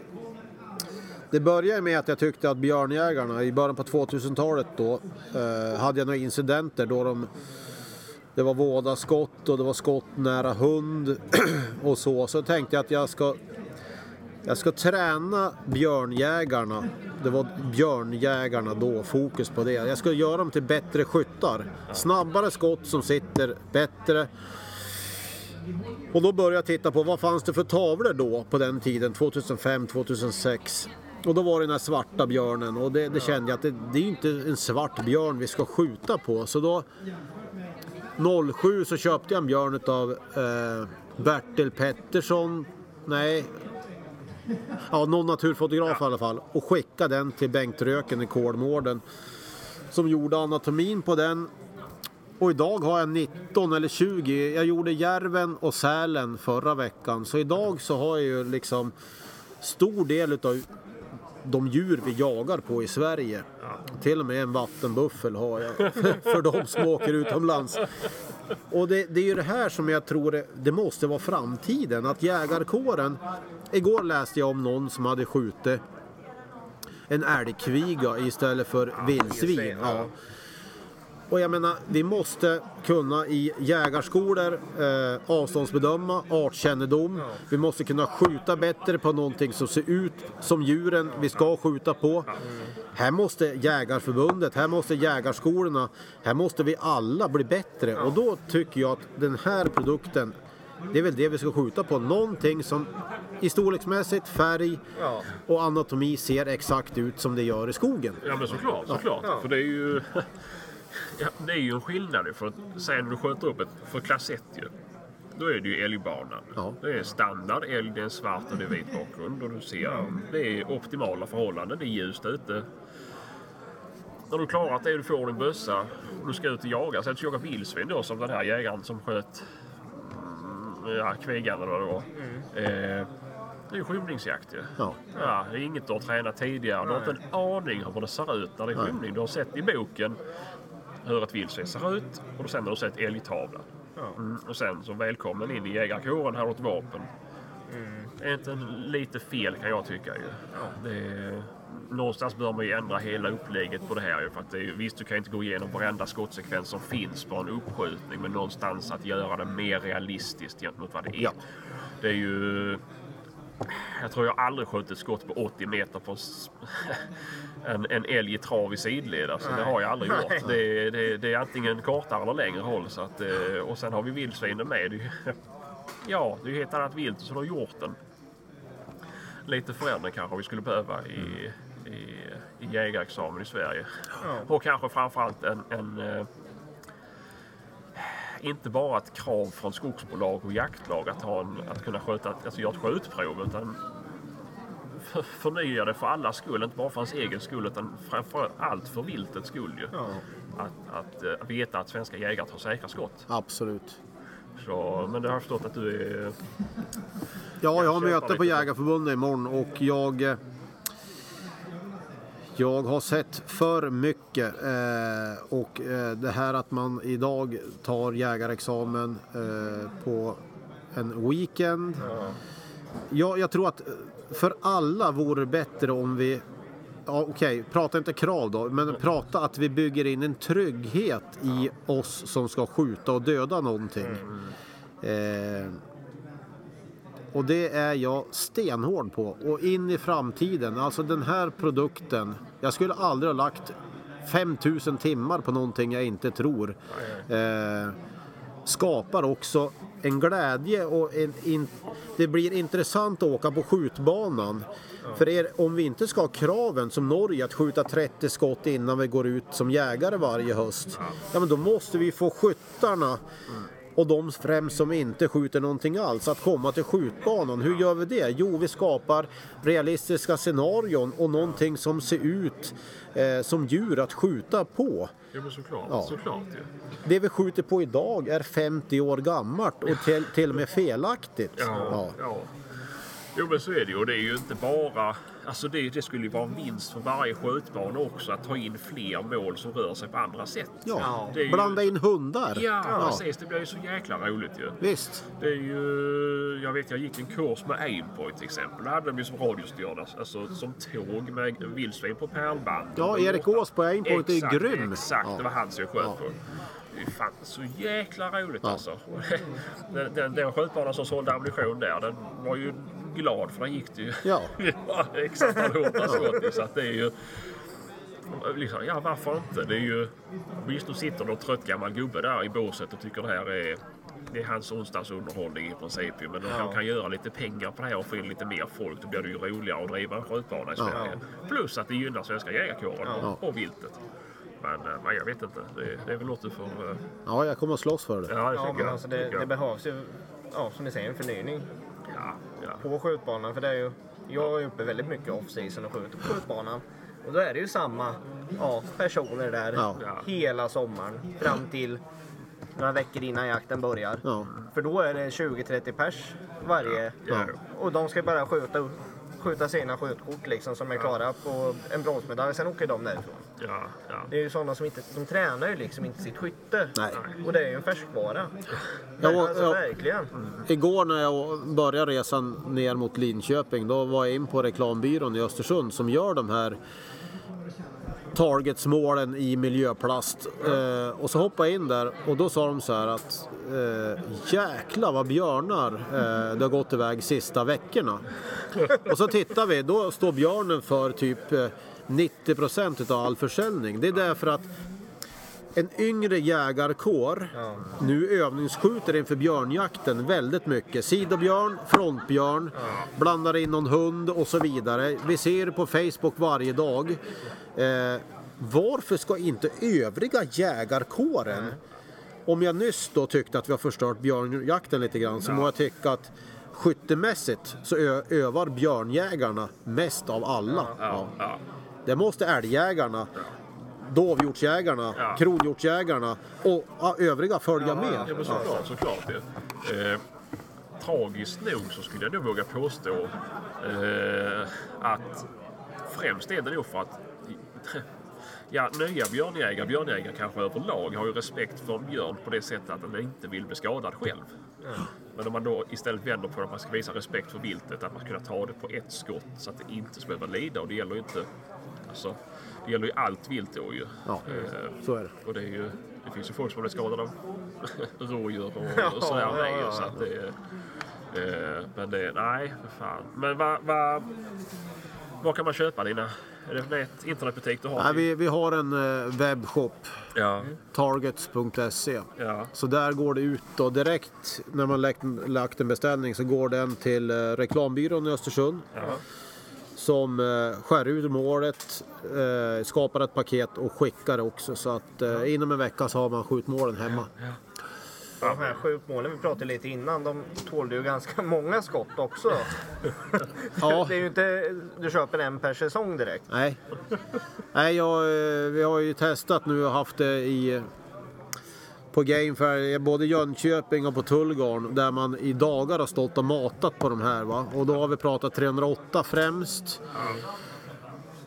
det började med att jag tyckte att björnjägarna i början på 2000-talet då eh, hade jag några incidenter då de det var vådaskott och det var skott nära hund och så. Så tänkte jag att jag ska, jag ska träna björnjägarna. Det var björnjägarna då, fokus på det. Jag ska göra dem till bättre skyttar. Snabbare skott som sitter bättre. Och då började jag titta på vad fanns det för tavlor då på den tiden, 2005, 2006. Och då var det den här svarta björnen och det, det kände jag att det, det är ju inte en svart björn vi ska skjuta på. Så då 07 så köpte jag en björn av eh, Bertil Pettersson, nej, ja, någon naturfotograf i alla fall och skickade den till Bengt Röken i Kolmården som gjorde anatomin på den och idag har jag 19 eller 20. Jag gjorde Järven och Sälen förra veckan. Så idag så har jag ju liksom stor del utav de djur vi jagar på i Sverige. Till och med en vattenbuffel har jag för de som åker utomlands. Och det, det är ju det här som jag tror det, det måste vara framtiden, att jägarkåren... Igår läste jag om någon som hade skjutit en älgkviga istället för vildsvin. Ja. Och jag menar, vi måste kunna i jägarskolor eh, avståndsbedöma, artkännedom. Vi måste kunna skjuta bättre på någonting som ser ut som djuren vi ska skjuta på. Här måste Jägarförbundet, här måste jägarskolorna, här måste vi alla bli bättre. Och då tycker jag att den här produkten, det är väl det vi ska skjuta på. Någonting som i storleksmässigt, färg Ja. och anatomi ser exakt ut som det gör i skogen. Ja men såklart, såklart. För det är ju... Ja, det är ju en skillnad ju, för att säga när du skjuter upp ett... För klass 1 ju. Då är det ju älgbanan. Ja. Det är standard älg, det är en svart och det är vit bakgrund. Och du ser, det är optimala förhållanden, det är ljust ute. När du klarat det, du får din bössa och du ska ut och jaga. Sen ska du jaga vildsvin då som den här jägaren som sköt mm, ja, kvigan eller vad det var. Eh, det är ju skymningsjakt ju. Ja. Ja, det är inget du har tränat tidigare. Du har inte en aning om hur det ser ut när det är skymning. Du har sett i boken hur ett vildsvin ser ut och sen har du sett älgtavlan. Mm, och sen så välkommen in i jägarkåren, här har du ett vapen. Det Är inte en- lite fel kan jag tycka ju. Det är, någonstans bör man ju ändra hela upplägget på det här ju. För att det är, ju- visst, du kan inte gå igenom varenda skottsekvens som finns på en uppskjutning. Men någonstans att göra det mer realistiskt gentemot vad det är. Ja. Det är ju... Jag tror jag aldrig skjutit ett skott på 80 meter på s- en, en älg i trav i sidled. Alltså, det har jag aldrig gjort. Det, är- det, är- det är antingen kortare eller längre håll. Så att, eh, och sen har vi vildsvinen med. Det är ju- Ja, det är ju helt annat vilt så du har gjort den. Lite förändring kanske vi skulle behöva i, i, i jägarexamen i Sverige. Och kanske framförallt en, en eh, inte bara ett krav från skogsbolag och jaktlag att, ha en, att kunna sköta, alltså göra ett skjutprov utan för- förnya det för allas skull, inte bara för hans egen skull utan framför allt för viltets skull. Ju. Att, att eh, veta att svenska jägare tar säkra skott. Absolut. Så, men det har jag förstått att du är... Ja, jag köpa har möte på lite. Jägarförbundet imorgon och jag... eh, Jag har sett för mycket eh, och eh, det här att man idag tar jägarexamen eh, på en weekend. Ja, jag tror att eh, för alla vore det bättre om vi Ja, Okej, prata inte krav då, men prata att vi bygger in en trygghet i oss som ska skjuta och döda någonting. Eh, och det är jag stenhård på. Och in i framtiden, alltså den här produkten. Jag skulle aldrig ha lagt 5000 timmar på någonting jag inte tror. Eh, skapar också en glädje och en in, det blir intressant att åka på skjutbanan. För er, om vi inte ska ha kraven som Norge att skjuta 30 skott innan vi går ut som jägare varje höst. Ja men då måste vi få skyttarna och de främst som inte skjuter någonting alls att komma till skjutbanan. Hur gör vi det? Jo, vi skapar realistiska scenarion och någonting som ser ut eh, som djur att skjuta på. Jo men såklart, Ja. såklart ju. Det vi skjuter på idag är 50 år gammalt och till, till och med felaktigt. Ja, Ja. ja. Jo men så är det ju. Och det är ju inte bara... Alltså det, det skulle ju vara en vinst för varje skjutbana också att ta in fler mål som rör sig på andra sätt. Ja. Det är ju- Blanda in hundar. Ja, precis. Det blir ju så jäkla roligt ju. Visst. Det är ju... Jag vet, jag gick en kurs med Aimpoint till exempel. Där hade de ju som radiostyrda, alltså som tåg med vildsvin på pärlband. Ja, Erik Ås på Aimpoint är ju Exakt, grym. Exakt, Ja. det var han som jag sköt Ja. på. Det är fan så jäkla roligt alltså. Den, den, den skjutbanan som sålde ammunition där, den var ju glad för den gick det ju. Ja. Ja, exakt allihopa skott ju, så att det är ju... Liksom, ja, varför inte? Det är ju... Visst, nu sitter någon trött gammal gubbe där i båset och tycker det här är... Det är hans onsdagsunderhållning i princip ju. Men om han kan göra lite pengar på det här och få in lite mer folk, då blir det ju roligare att driva en skjutbana i Sverige. Plus att det gynnar svenska jägarkåren och, och viltet. Men, eh, men jag vet inte. Det, det är väl något du får... eh, Ja, jag kommer att slåss för det. Ja, det Ja, tycker men jag. alltså det, tycker det jag. behövs ju, ja, som ni säger, en förnyning ja, ja. på skjutbanan. För det är ju, jag är uppe väldigt mycket off-season och skjuter på skjutbanan. Och då är det ju samma ja, personer där Ja. hela sommaren fram till några veckor innan jakten börjar. Ja. För då är det 20-30 pers varje. Ja. Och de ska bara skjuta skjuta sina skjutkort liksom, som är klara på en bronsmedalj. Sen åker de därifrån. Ja, ja. Det är ju sådana som inte, de tränar ju liksom inte sitt skytte. Nej. Och det är ju en färskvara. Jag, å- Alltså jag, verkligen. igår när jag började resan ner mot Linköping, då var jag in på reklambyrån i Östersund som gör de här targetsmålen i miljöplast. Eh, och så hoppade jag in där och då sa de så här att eh, jäklar vad björnar eh, det har gått iväg sista veckorna. och så tittar vi, då står björnen för typ eh, 90 procent av all försäljning. Det är därför att en yngre jägarkår nu övningsskjuter inför björnjakten väldigt mycket. Sidobjörn, frontbjörn, blandar in någon hund och så vidare. Vi ser det på Facebook varje dag. Eh, varför ska inte övriga jägarkåren om jag nyss då tyckte att vi har förstört björnjakten lite grann så må jag tycka att skyttemässigt så ö- övar björnjägarna mest av alla. Ja. ja. Det måste älgjägarna, dovhjortsjägarna, Ja. kronhjortsjägarna och ja, övriga följa med. Ja, men såklart, såklart ju. Eh, tragiskt nog så skulle jag nog våga påstå eh, att främst är det nog för att ja, nya björnjägare, björnjägare kanske överlag, har ju respekt för en björn på det sättet att den inte vill bli skadad själv. Men om man då istället vänder på det, att man ska visa respekt för viltet, att man ska kunna ta det på ett skott så att det inte ska behöva lida. Och det gäller ju inte... Alltså, det gäller ju allt vilt då ju. Ja, Eh, så är det. och det, är ju, det finns ju folk som har blivit skadade av rådjur och, Ja, och sådär med. ja, ju, ja. Så att det, är- eh, men det, nej, för fan. Men vad va, vad kan man köpa dina? Är det nät, internetbutik du har? Nej, vi, vi har en eh, webbshop, Ja, Mm. targets.se. ja, Så där går det ut då direkt när man lagt, lagt en beställning så går den till eh, reklambyrån i Östersund. ja, som eh, skär ur målet, eh, skapar ett paket och skickar det också. Så att eh, inom en vecka så har man skjutmålen hemma. De här skjutmålen vi pratade lite innan, de tålde ju ganska många skott också. Ja, Det är ju inte, du köper en per säsong direkt. nej. Nej, jag, eh, vi har ju testat nu och haft det i eh, på Game Fair, både i Jönköping och på Tullgarn där man i dagar har stått och matat på de här. Va? Och då har vi pratat 308 främst.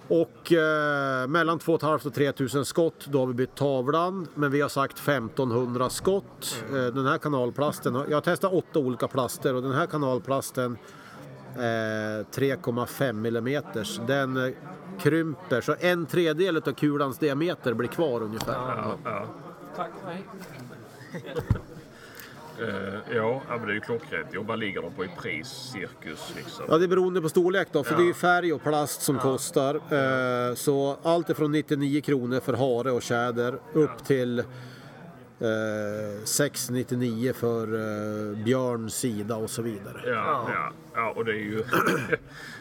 Och eh, mellan 2 500 och 3 000 skott, då har vi bytt tavlan. Men vi har sagt 1500 skott. Eh, den här kanalplasten, har- jag har testat åtta olika plaster och den här kanalplasten eh, 3,5 millimeters, den eh, krymper så en tredjedel av kulans diameter blir kvar ungefär. ja, ja. Tack, hej. ja, ja, men det är ju klockrent. Och vad ligger de på i pris, cirkus liksom? Ja, det är beroende på storlek då, för det är ju färg och plast som kostar. Eh, Så allt ifrån 99 kronor för hare och tjäder upp till eh, 699 för eh, björn, sida och så vidare. Ja, ja, ja, och det är ju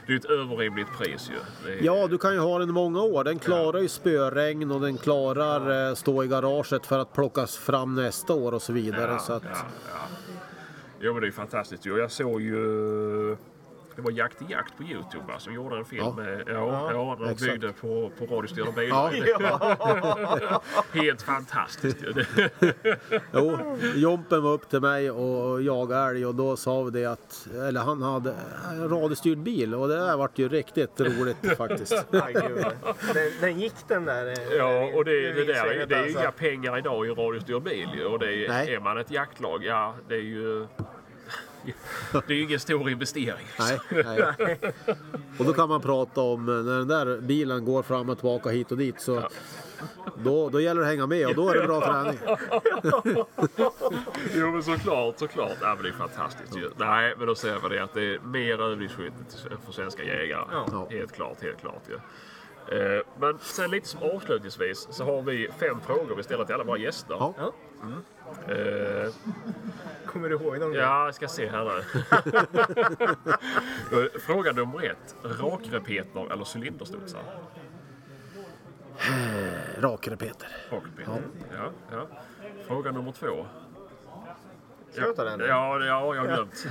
det är ju ett överrimligt pris ju. Det är, Ja, du kan ju ha den i många år. Den klarar ju spöregn och den klarar eh, stå i garaget för att plockas fram nästa år och så vidare. Ja, så att, ja, ja. Jo, men det är ju fantastiskt. ju. Jag såg ju... Det var Jakt i jakt på Youtube va, som gjorde en film. Ja. Med, ja, ja, de exakt. byggde på, på radiostyrda Ja. bilar. Helt fantastiskt ju. Det- Jo, Jompen var upp till mig och jagade älg och då sa vi det att, eller han hade en radiostyrd bil och det där vart ju riktigt roligt faktiskt. Aj, gud. Den, den gick den där. eh, Ja, och det, det, där, är- vildsvinet, det är ju alltså. inga pengar idag i en radiostyrd bil. ju. Och det är, Nej. är man ett jaktlag, ja, det är ju... Det är ju ingen stor investering. Nej, nej. Och då kan man prata om eh, när den där bilen går fram och tillbaka hit och dit så då, då gäller det att hänga med och då är det bra träning. Jo men såklart, såklart. Ja, men det är fantastiskt ju. Nej, men då säger man det att det är mer övningsskytt för svenska jägare. Ja. Helt klart, helt klart ju. Eh, Men sen lite som avslutningsvis så har vi fem frågor vi ställer till alla våra gäster. Ja. Ja. Eh, Kommer du ihåg dem? Ja, jag ska se här nu. Eh, Fråga nummer ett. Rakrepeter eller cylinderstudsar? Rakare Peter. Rakrepeter. Ja, ja. Fråga nummer två. Ska jag ta den? Ja, det- ja, jag har glömt.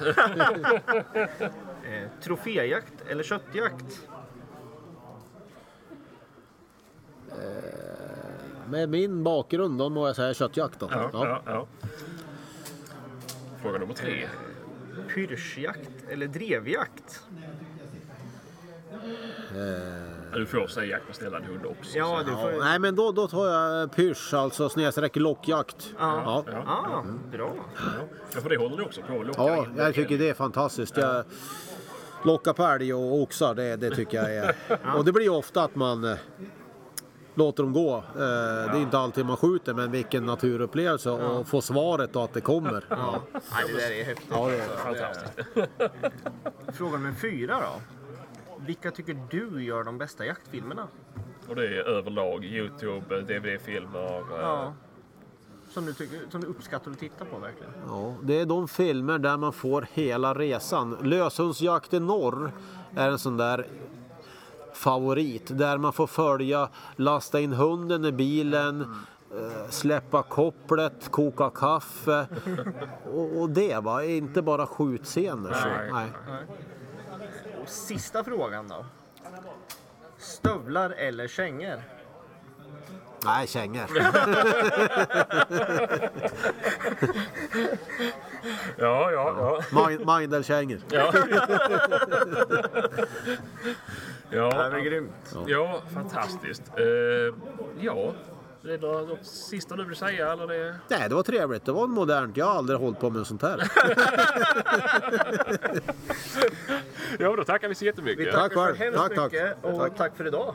Eh, Troféjakt eller köttjakt? Med min bakgrund då må jag säga köttjakt då. Ja, Ja. ja, ja. Fråga nummer tre. Pyrschjakt eller drevjakt? Du får säga jakt på ställande hund också. Ja, så. du får... Nej, men då, då tar jag pysch, alltså snedstreck lockjakt. Ja. Ja. Ah, bra. ja, för det håller du också på att locka Ja, in. jag tycker det är fantastiskt. Jag lockar på älg och oxar, det, det tycker jag är... Och det blir ju ofta att man eh, låter dem gå. Eh, Det är inte alltid man skjuter, men vilken naturupplevelse och få svaret och att det kommer. Ja, Nej, det där är häftigt. ja det är det. Fantastiskt. Fråga nummer fyra då. Vilka tycker du gör de bästa jaktfilmerna? Och det är överlag Youtube, eh, DVD-filmer. Ja. Som du, tycker, som du uppskattar att titta på verkligen? Ja, det är de filmer där man får hela resan. Löshundsjakt i norr är en sån där favorit. Där man får följa, lasta in hunden i bilen, eh, släppa kopplet, koka kaffe. Och, och det va, inte bara skjutscener. Nej. Så. Nej. Och sista frågan då. Stövlar eller kängor? Nej, kängor. Ja, ja, ja. Mind- Mindelkängor. ja. är grymt. Ja, fantastiskt. Eh, ja, det är några- något sista du vill säga eller det? Nej, det var trevligt. Det var modernt. Jag har aldrig hållit på med sånt här. Ja, då tackar vi så jättemycket. Vi tackar själv. så hemskt Tack, tack. mycket och tack för idag.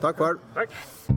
Tack själv. Tack.